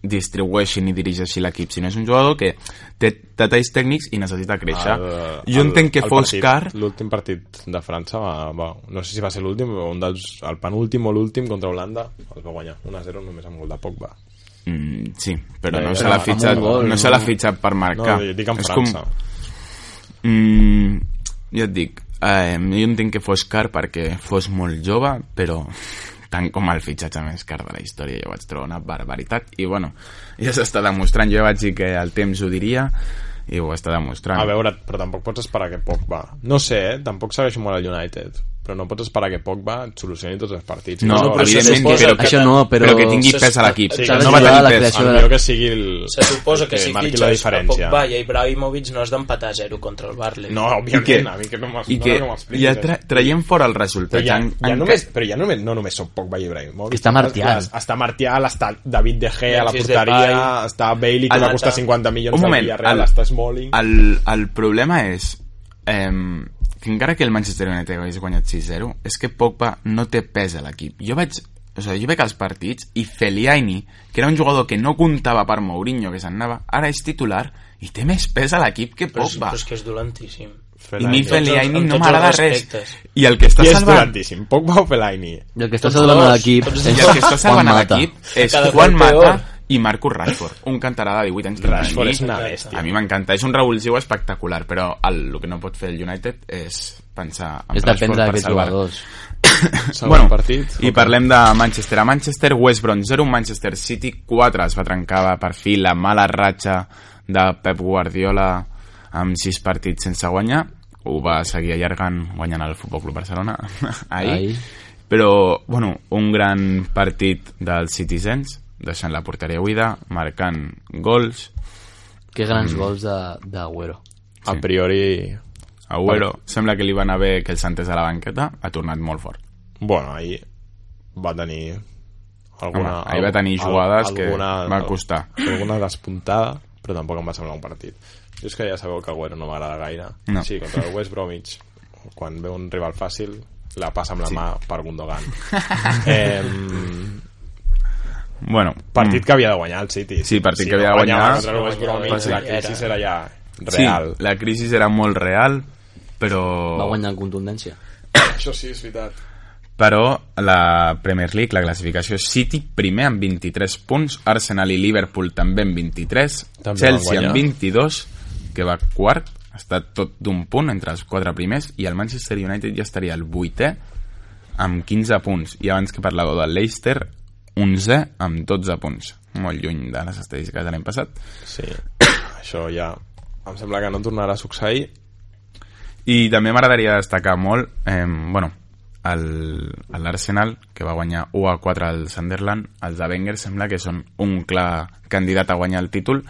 Speaker 1: distribueixi ni dirigeixi l'equip, sinó és un jugador que té detalls tècnics i necessita créixer. jo entenc que
Speaker 2: el
Speaker 1: fos
Speaker 2: partit-
Speaker 1: car...
Speaker 2: L'últim partit de França va, va, no sé si va ser l'últim o un dels, el penúltim o l'últim contra Holanda els va guanyar 1-0 només amb gol de Pogba
Speaker 1: Mm, sí, però
Speaker 2: Bé,
Speaker 1: no
Speaker 2: però
Speaker 1: se l'ha
Speaker 2: amb un
Speaker 1: fitxat,
Speaker 4: gol,
Speaker 1: no
Speaker 4: no?
Speaker 1: se l'ha fitxat per
Speaker 2: no,
Speaker 1: marcar.
Speaker 2: dic en
Speaker 1: És
Speaker 2: França
Speaker 1: Mm, jo et dic, eh, jo entenc que fos car perquè fos molt jove, però tant com el fitxatge més car de la història jo vaig trobar una barbaritat i bueno, ja s'està demostrant jo vaig dir que el temps ho diria i ho està demostrant
Speaker 2: a veure, però tampoc pots esperar que Pogba no sé, eh? tampoc segueixo molt el United però no pots esperar que Pogba et solucioni tots els partits
Speaker 1: no,
Speaker 6: No, però
Speaker 2: em-
Speaker 6: se
Speaker 1: evidentment
Speaker 6: suposa
Speaker 1: però
Speaker 6: que-
Speaker 1: que,
Speaker 4: Això no, però...
Speaker 1: però que tingui
Speaker 6: se-
Speaker 1: pes a l'equip
Speaker 2: sí,
Speaker 1: no
Speaker 2: s'ha
Speaker 1: va
Speaker 2: de
Speaker 4: jugar a la
Speaker 1: tenir pes
Speaker 4: creació
Speaker 2: el millor em que sigui el...
Speaker 6: Se suposa que, si
Speaker 2: marqui la
Speaker 6: fitxes a
Speaker 2: diferència
Speaker 6: Pogba i a Ibrahimovic no has d'empatar a zero contra el Barley.
Speaker 2: no,
Speaker 1: i que,
Speaker 2: òbviament, a mi que no m'has-
Speaker 1: i
Speaker 2: no,
Speaker 1: que
Speaker 2: no m'expliquis
Speaker 1: ja
Speaker 2: això.
Speaker 1: tra traiem fora el resultat
Speaker 2: però ja,
Speaker 1: en-
Speaker 2: ja
Speaker 1: en-
Speaker 2: només, però ja només, no només són Pogba i Ibrahimovic.
Speaker 4: Està Martial.
Speaker 2: Està, està Martial, està David De Gea a la
Speaker 6: Memphis
Speaker 2: porteria,
Speaker 6: Depay.
Speaker 2: està Bailey, que
Speaker 1: El-
Speaker 2: va costar 50 milions
Speaker 1: Un
Speaker 2: al
Speaker 1: moment,
Speaker 2: Villarreal,
Speaker 1: el-
Speaker 2: està Smalling...
Speaker 1: El, el problema és eh, que encara que el Manchester United hagués guanyat 6-0, és que Pogba no té pes a l'equip. Jo vaig o sigui, jo veig els partits i Feliaini, que era un jugador que no comptava per Mourinho, que se'n anava, ara és titular i té més pes a l'equip que
Speaker 6: però, és,
Speaker 1: Pogba.
Speaker 6: però és que és dolentíssim.
Speaker 1: I a mi
Speaker 2: Fellaini.
Speaker 1: Feliaini
Speaker 6: amb
Speaker 1: no
Speaker 6: tots
Speaker 1: m'agrada
Speaker 6: els
Speaker 1: res.
Speaker 6: respectes.
Speaker 1: I el que està
Speaker 2: Qui és
Speaker 1: salvant...
Speaker 2: dolentíssim, Pogba o Fellaini?
Speaker 4: I el que està
Speaker 6: Tots
Speaker 4: salvant a
Speaker 6: dos.
Speaker 4: l'equip
Speaker 6: Tots
Speaker 4: és
Speaker 1: I el que està salvant a
Speaker 4: Juan Mata.
Speaker 1: l'equip és
Speaker 6: Cada
Speaker 1: Juan
Speaker 6: cop
Speaker 1: Mata
Speaker 6: peor.
Speaker 1: i Marcus Rashford, un cantarà de 18 anys que
Speaker 2: Rashford
Speaker 1: tenim.
Speaker 2: és una
Speaker 1: A
Speaker 2: bèstia.
Speaker 1: mi m'encanta, és un revulsiu espectacular, però el, el que no pot fer el United és pensar en
Speaker 4: És dependre
Speaker 1: Rashford per
Speaker 4: d'aquests
Speaker 1: salvar.
Speaker 4: jugadors.
Speaker 2: Salvar el partit,
Speaker 1: I
Speaker 2: ok.
Speaker 1: parlem de Manchester a Manchester, West Brom 0, Manchester City 4. Es va trencar per fi la mala ratxa de Pep Guardiola amb 6 partits sense guanyar. Ho va seguir allargant guanyant el Futbol Club Barcelona (laughs) ahir.
Speaker 4: Ahir.
Speaker 1: Però, bueno, un gran partit dels Citizens, deixant la porteria buida, marcant gols,
Speaker 4: Que
Speaker 1: Mm.
Speaker 4: grans gols de- d'Agüero.
Speaker 2: A priori...
Speaker 1: Agüero, sembla que li va anar bé que el Santes a la banqueta, ha tornat molt fort.
Speaker 2: Bueno, ahir va tenir... Alguna,
Speaker 1: Home, ahir va tenir jugades que va costar.
Speaker 2: Alguna despuntada, però tampoc em va semblar un partit. Jo és que ja sabeu que Agüero no m'agrada gaire.
Speaker 1: No.
Speaker 2: Sí, contra el West Bromwich, quan veu un rival fàcil, la passa amb la mà per
Speaker 1: (laughs)
Speaker 2: Gundogan. eh,
Speaker 1: Bueno,
Speaker 2: partit que havia de guanyar el City.
Speaker 1: Mm. Sí, partit
Speaker 2: si
Speaker 1: que
Speaker 2: no
Speaker 1: havia de
Speaker 2: guanyava
Speaker 1: guanyar,
Speaker 2: Contra el West Bromwich,
Speaker 1: guanyava.
Speaker 2: la crisi era ja
Speaker 1: Sí,
Speaker 2: real.
Speaker 1: la crisi era molt real, però...
Speaker 4: Va guanyar en contundència.
Speaker 2: Això sí, és veritat.
Speaker 1: però la Premier League, la classificació és City primer amb 23 punts, Arsenal i Liverpool també amb 23,
Speaker 2: També
Speaker 1: Chelsea
Speaker 2: van
Speaker 1: amb
Speaker 2: guanyar.
Speaker 1: 22, que va quart, està tot d'un punt entre els quatre primers, i el Manchester United ja estaria el vuitè amb 15 punts, i abans que parlàveu del Leicester, 11 amb 12 punts, molt lluny de les estadístiques de l'any passat.
Speaker 2: Sí, això ja... Em sembla que no tornarà a succeir.
Speaker 1: I també m'agradaria destacar molt, eh, bueno, el- el l'Arsenal, que va guanyar 1 a 4 al Sunderland, els de Wenger sembla que són un clar candidat a guanyar el títol.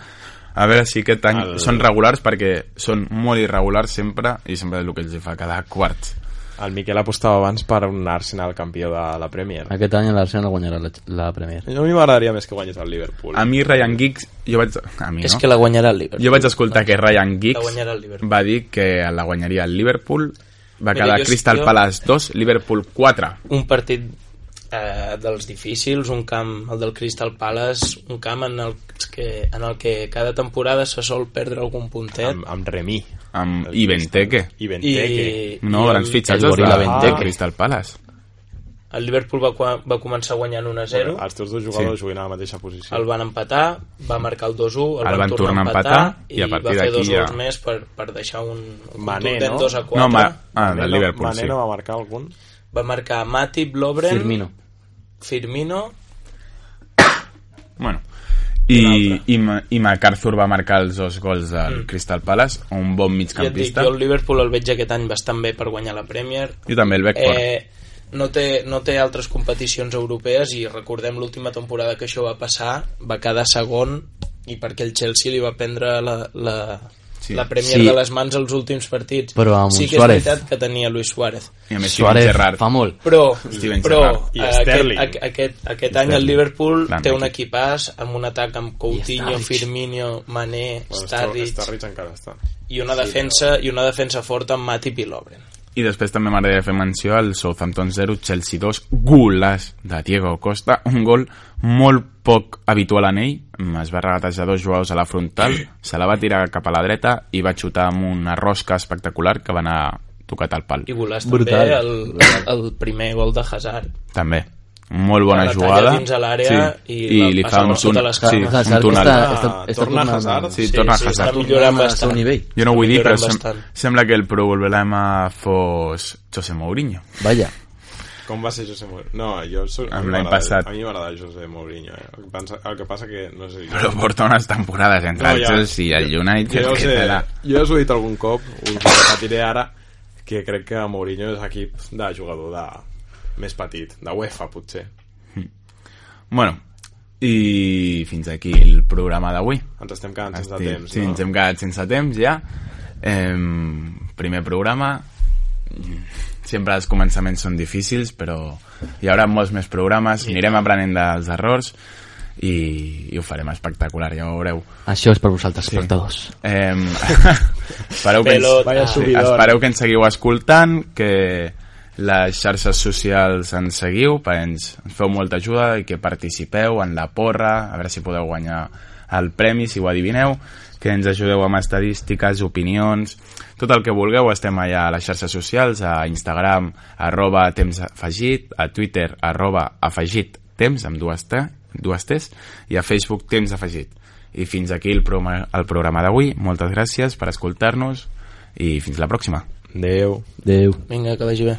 Speaker 1: A veure si aquest any
Speaker 2: El-
Speaker 1: són regulars, perquè són molt irregulars sempre, i sempre és el que els hi fa quedar quarts.
Speaker 2: El Miquel apostava abans per un Arsenal campió de la Premier.
Speaker 4: Aquest any l'Arsenal guanyarà la, la Premier.
Speaker 2: A mi m'agradaria més que guanyés el Liverpool.
Speaker 1: A mi Ryan Giggs, jo vaig... A mi,
Speaker 3: És
Speaker 1: no?
Speaker 3: que la guanyarà el Liverpool.
Speaker 1: Jo vaig escoltar que Ryan
Speaker 6: La
Speaker 1: Giggs
Speaker 6: guanyarà el Liverpool.
Speaker 1: va dir que la guanyaria el Liverpool, va
Speaker 6: Mira,
Speaker 1: quedar
Speaker 6: jo-
Speaker 1: Crystal
Speaker 6: jo-
Speaker 1: Palace 2, Liverpool 4.
Speaker 6: un partit eh, dels difícils, un camp, el del Crystal Palace, un camp en el que, en el que cada temporada se sol perdre algun puntet.
Speaker 2: Amb, amb Remy.
Speaker 1: Amb, I Benteke.
Speaker 2: I Benteke.
Speaker 1: No,
Speaker 6: i
Speaker 1: grans
Speaker 6: el,
Speaker 1: fitxatges de
Speaker 4: Gorila
Speaker 1: ah.
Speaker 4: Benteke.
Speaker 1: Crystal Palace.
Speaker 6: el Liverpool va, qua- va començar guanyant 1 a 0,
Speaker 2: Els teus dos jugadors sí. juguen a la mateixa posició.
Speaker 6: el van empatar, va marcar el 2-1, el,
Speaker 1: El van tornar a empatar, i a partir
Speaker 6: va fer dos
Speaker 1: d'aquí ja-
Speaker 6: gols més per, per deixar un, un
Speaker 2: Mané,
Speaker 6: contundent
Speaker 2: no?
Speaker 6: 2 a 4.
Speaker 1: No, ma... ah,
Speaker 2: Mané
Speaker 1: del
Speaker 2: no-
Speaker 1: Liverpool,
Speaker 2: Mané
Speaker 1: sí.
Speaker 2: no va marcar algun?
Speaker 6: Va marcar Matip, Lovren,
Speaker 4: Firmino.
Speaker 6: Firmino
Speaker 1: Bueno, i, i, Ma- i MacArthur va marcar els dos gols del Crystal Palace, un bon
Speaker 6: ja et dic,
Speaker 1: migcampista.
Speaker 6: jo el Liverpool el veig aquest any bastant bé per guanyar la Premier
Speaker 1: Jo també el veig fort.
Speaker 6: eh, no, té, no té altres competicions europees i recordem l'última temporada que això va passar va quedar segon i perquè el Chelsea li va prendre la, la,
Speaker 1: Sí.
Speaker 6: sí. la Premier
Speaker 4: Sí.
Speaker 6: sí. de les mans als últims partits
Speaker 4: Però amb
Speaker 6: sí
Speaker 4: un
Speaker 6: que
Speaker 4: Suárez.
Speaker 6: és veritat que tenia Luis Suárez
Speaker 1: I a més Steven
Speaker 4: Suárez
Speaker 1: Gerrard.
Speaker 4: fa molt.
Speaker 6: però,
Speaker 1: Steven
Speaker 6: però
Speaker 1: Gerrard.
Speaker 2: I
Speaker 6: eh,
Speaker 2: Sterling.
Speaker 6: aquest, a- aquest, aquest any el Liverpool
Speaker 1: Gran
Speaker 6: té un
Speaker 1: equip.
Speaker 6: equipàs amb un atac amb Coutinho,
Speaker 4: Starrich.
Speaker 6: Firmino, Mané, Starrich
Speaker 2: Starrich encara està.
Speaker 6: i una defensa i una defensa forta amb Matip i Lovren.
Speaker 1: I després també m'agradaria fer menció al Southampton 0, Chelsea 2, golàs de Diego Costa, un gol molt poc habitual en ell, Mm, es va regatejar dos jugadors a la frontal, se la va tirar cap a la dreta i va xutar amb una rosca espectacular que va anar tocat al pal.
Speaker 6: I volàs
Speaker 4: Brutal.
Speaker 6: també el, el primer gol de Hazard.
Speaker 1: També. Molt bona
Speaker 6: La talla
Speaker 1: jugada.
Speaker 6: dins a l'àrea i la
Speaker 1: li
Speaker 6: passa
Speaker 1: fa un,
Speaker 6: per sota
Speaker 1: tun-
Speaker 6: les cames.
Speaker 1: sí,
Speaker 4: Hazard,
Speaker 1: un
Speaker 4: que
Speaker 1: túnel.
Speaker 4: està-
Speaker 2: Ah, torna
Speaker 4: tornant-
Speaker 2: Hazard?
Speaker 1: Sí, torna a Hazard.
Speaker 6: està millorant
Speaker 4: Torna al seu
Speaker 6: bastant.
Speaker 4: nivell.
Speaker 1: Jo no ho vull dir, però
Speaker 6: millorant
Speaker 1: sem
Speaker 6: bastant.
Speaker 1: sembla que el problema fos José Mourinho. (laughs)
Speaker 4: Vaja.
Speaker 2: Com va ser José Mourinho? No, jo soc...
Speaker 1: Amb
Speaker 2: a mi
Speaker 1: l'any
Speaker 2: m'agrada-
Speaker 1: passat.
Speaker 2: A mi m'agrada José Mourinho. Eh? El, que pensa, el que passa que... No sé...
Speaker 1: Però porta unes temporades entre
Speaker 2: No,
Speaker 1: el
Speaker 2: ja.
Speaker 1: Chelsea i el United.
Speaker 2: Jo, ja ho
Speaker 1: que
Speaker 2: sé,
Speaker 1: te la-
Speaker 2: jo ja us ho he dit algun cop, us ho repetiré ara, que crec que Mourinho és equip de jugador de més petit, de UEFA, potser.
Speaker 1: Bueno, i fins aquí el programa d'avui.
Speaker 2: Ens estem quedant sense
Speaker 1: Estic-
Speaker 2: temps,
Speaker 1: sí,
Speaker 2: no?
Speaker 1: ens hem quedat sense temps ja. Eh, primer programa. Sempre els començaments són difícils, però hi haurà molts més programes, anirem aprenent dels errors i, i ho farem espectacular, ja ho veureu.
Speaker 4: Això és per vosaltres, espectadors.
Speaker 1: Eh,
Speaker 2: (laughs)
Speaker 1: espereu, que ens,
Speaker 6: Pelota. Vaya
Speaker 1: sí, espereu que ens seguiu escoltant, que les xarxes socials ens seguiu, perquè ens, ens feu molta ajuda i que participeu en la porra, a veure si podeu guanyar el premi, si ho adivineu, que ens ajudeu amb estadístiques, opinions, tot el que vulgueu, estem allà a les xarxes socials, a Instagram, arroba temps afegit, a Twitter, arroba afegit temps, amb dues, t, dues T's, i a Facebook temps afegit. I fins aquí el programa, el programa d'avui. Moltes gràcies per escoltar-nos i fins la pròxima.
Speaker 2: Adéu.
Speaker 4: Adéu.
Speaker 6: Vinga, que vagi bé.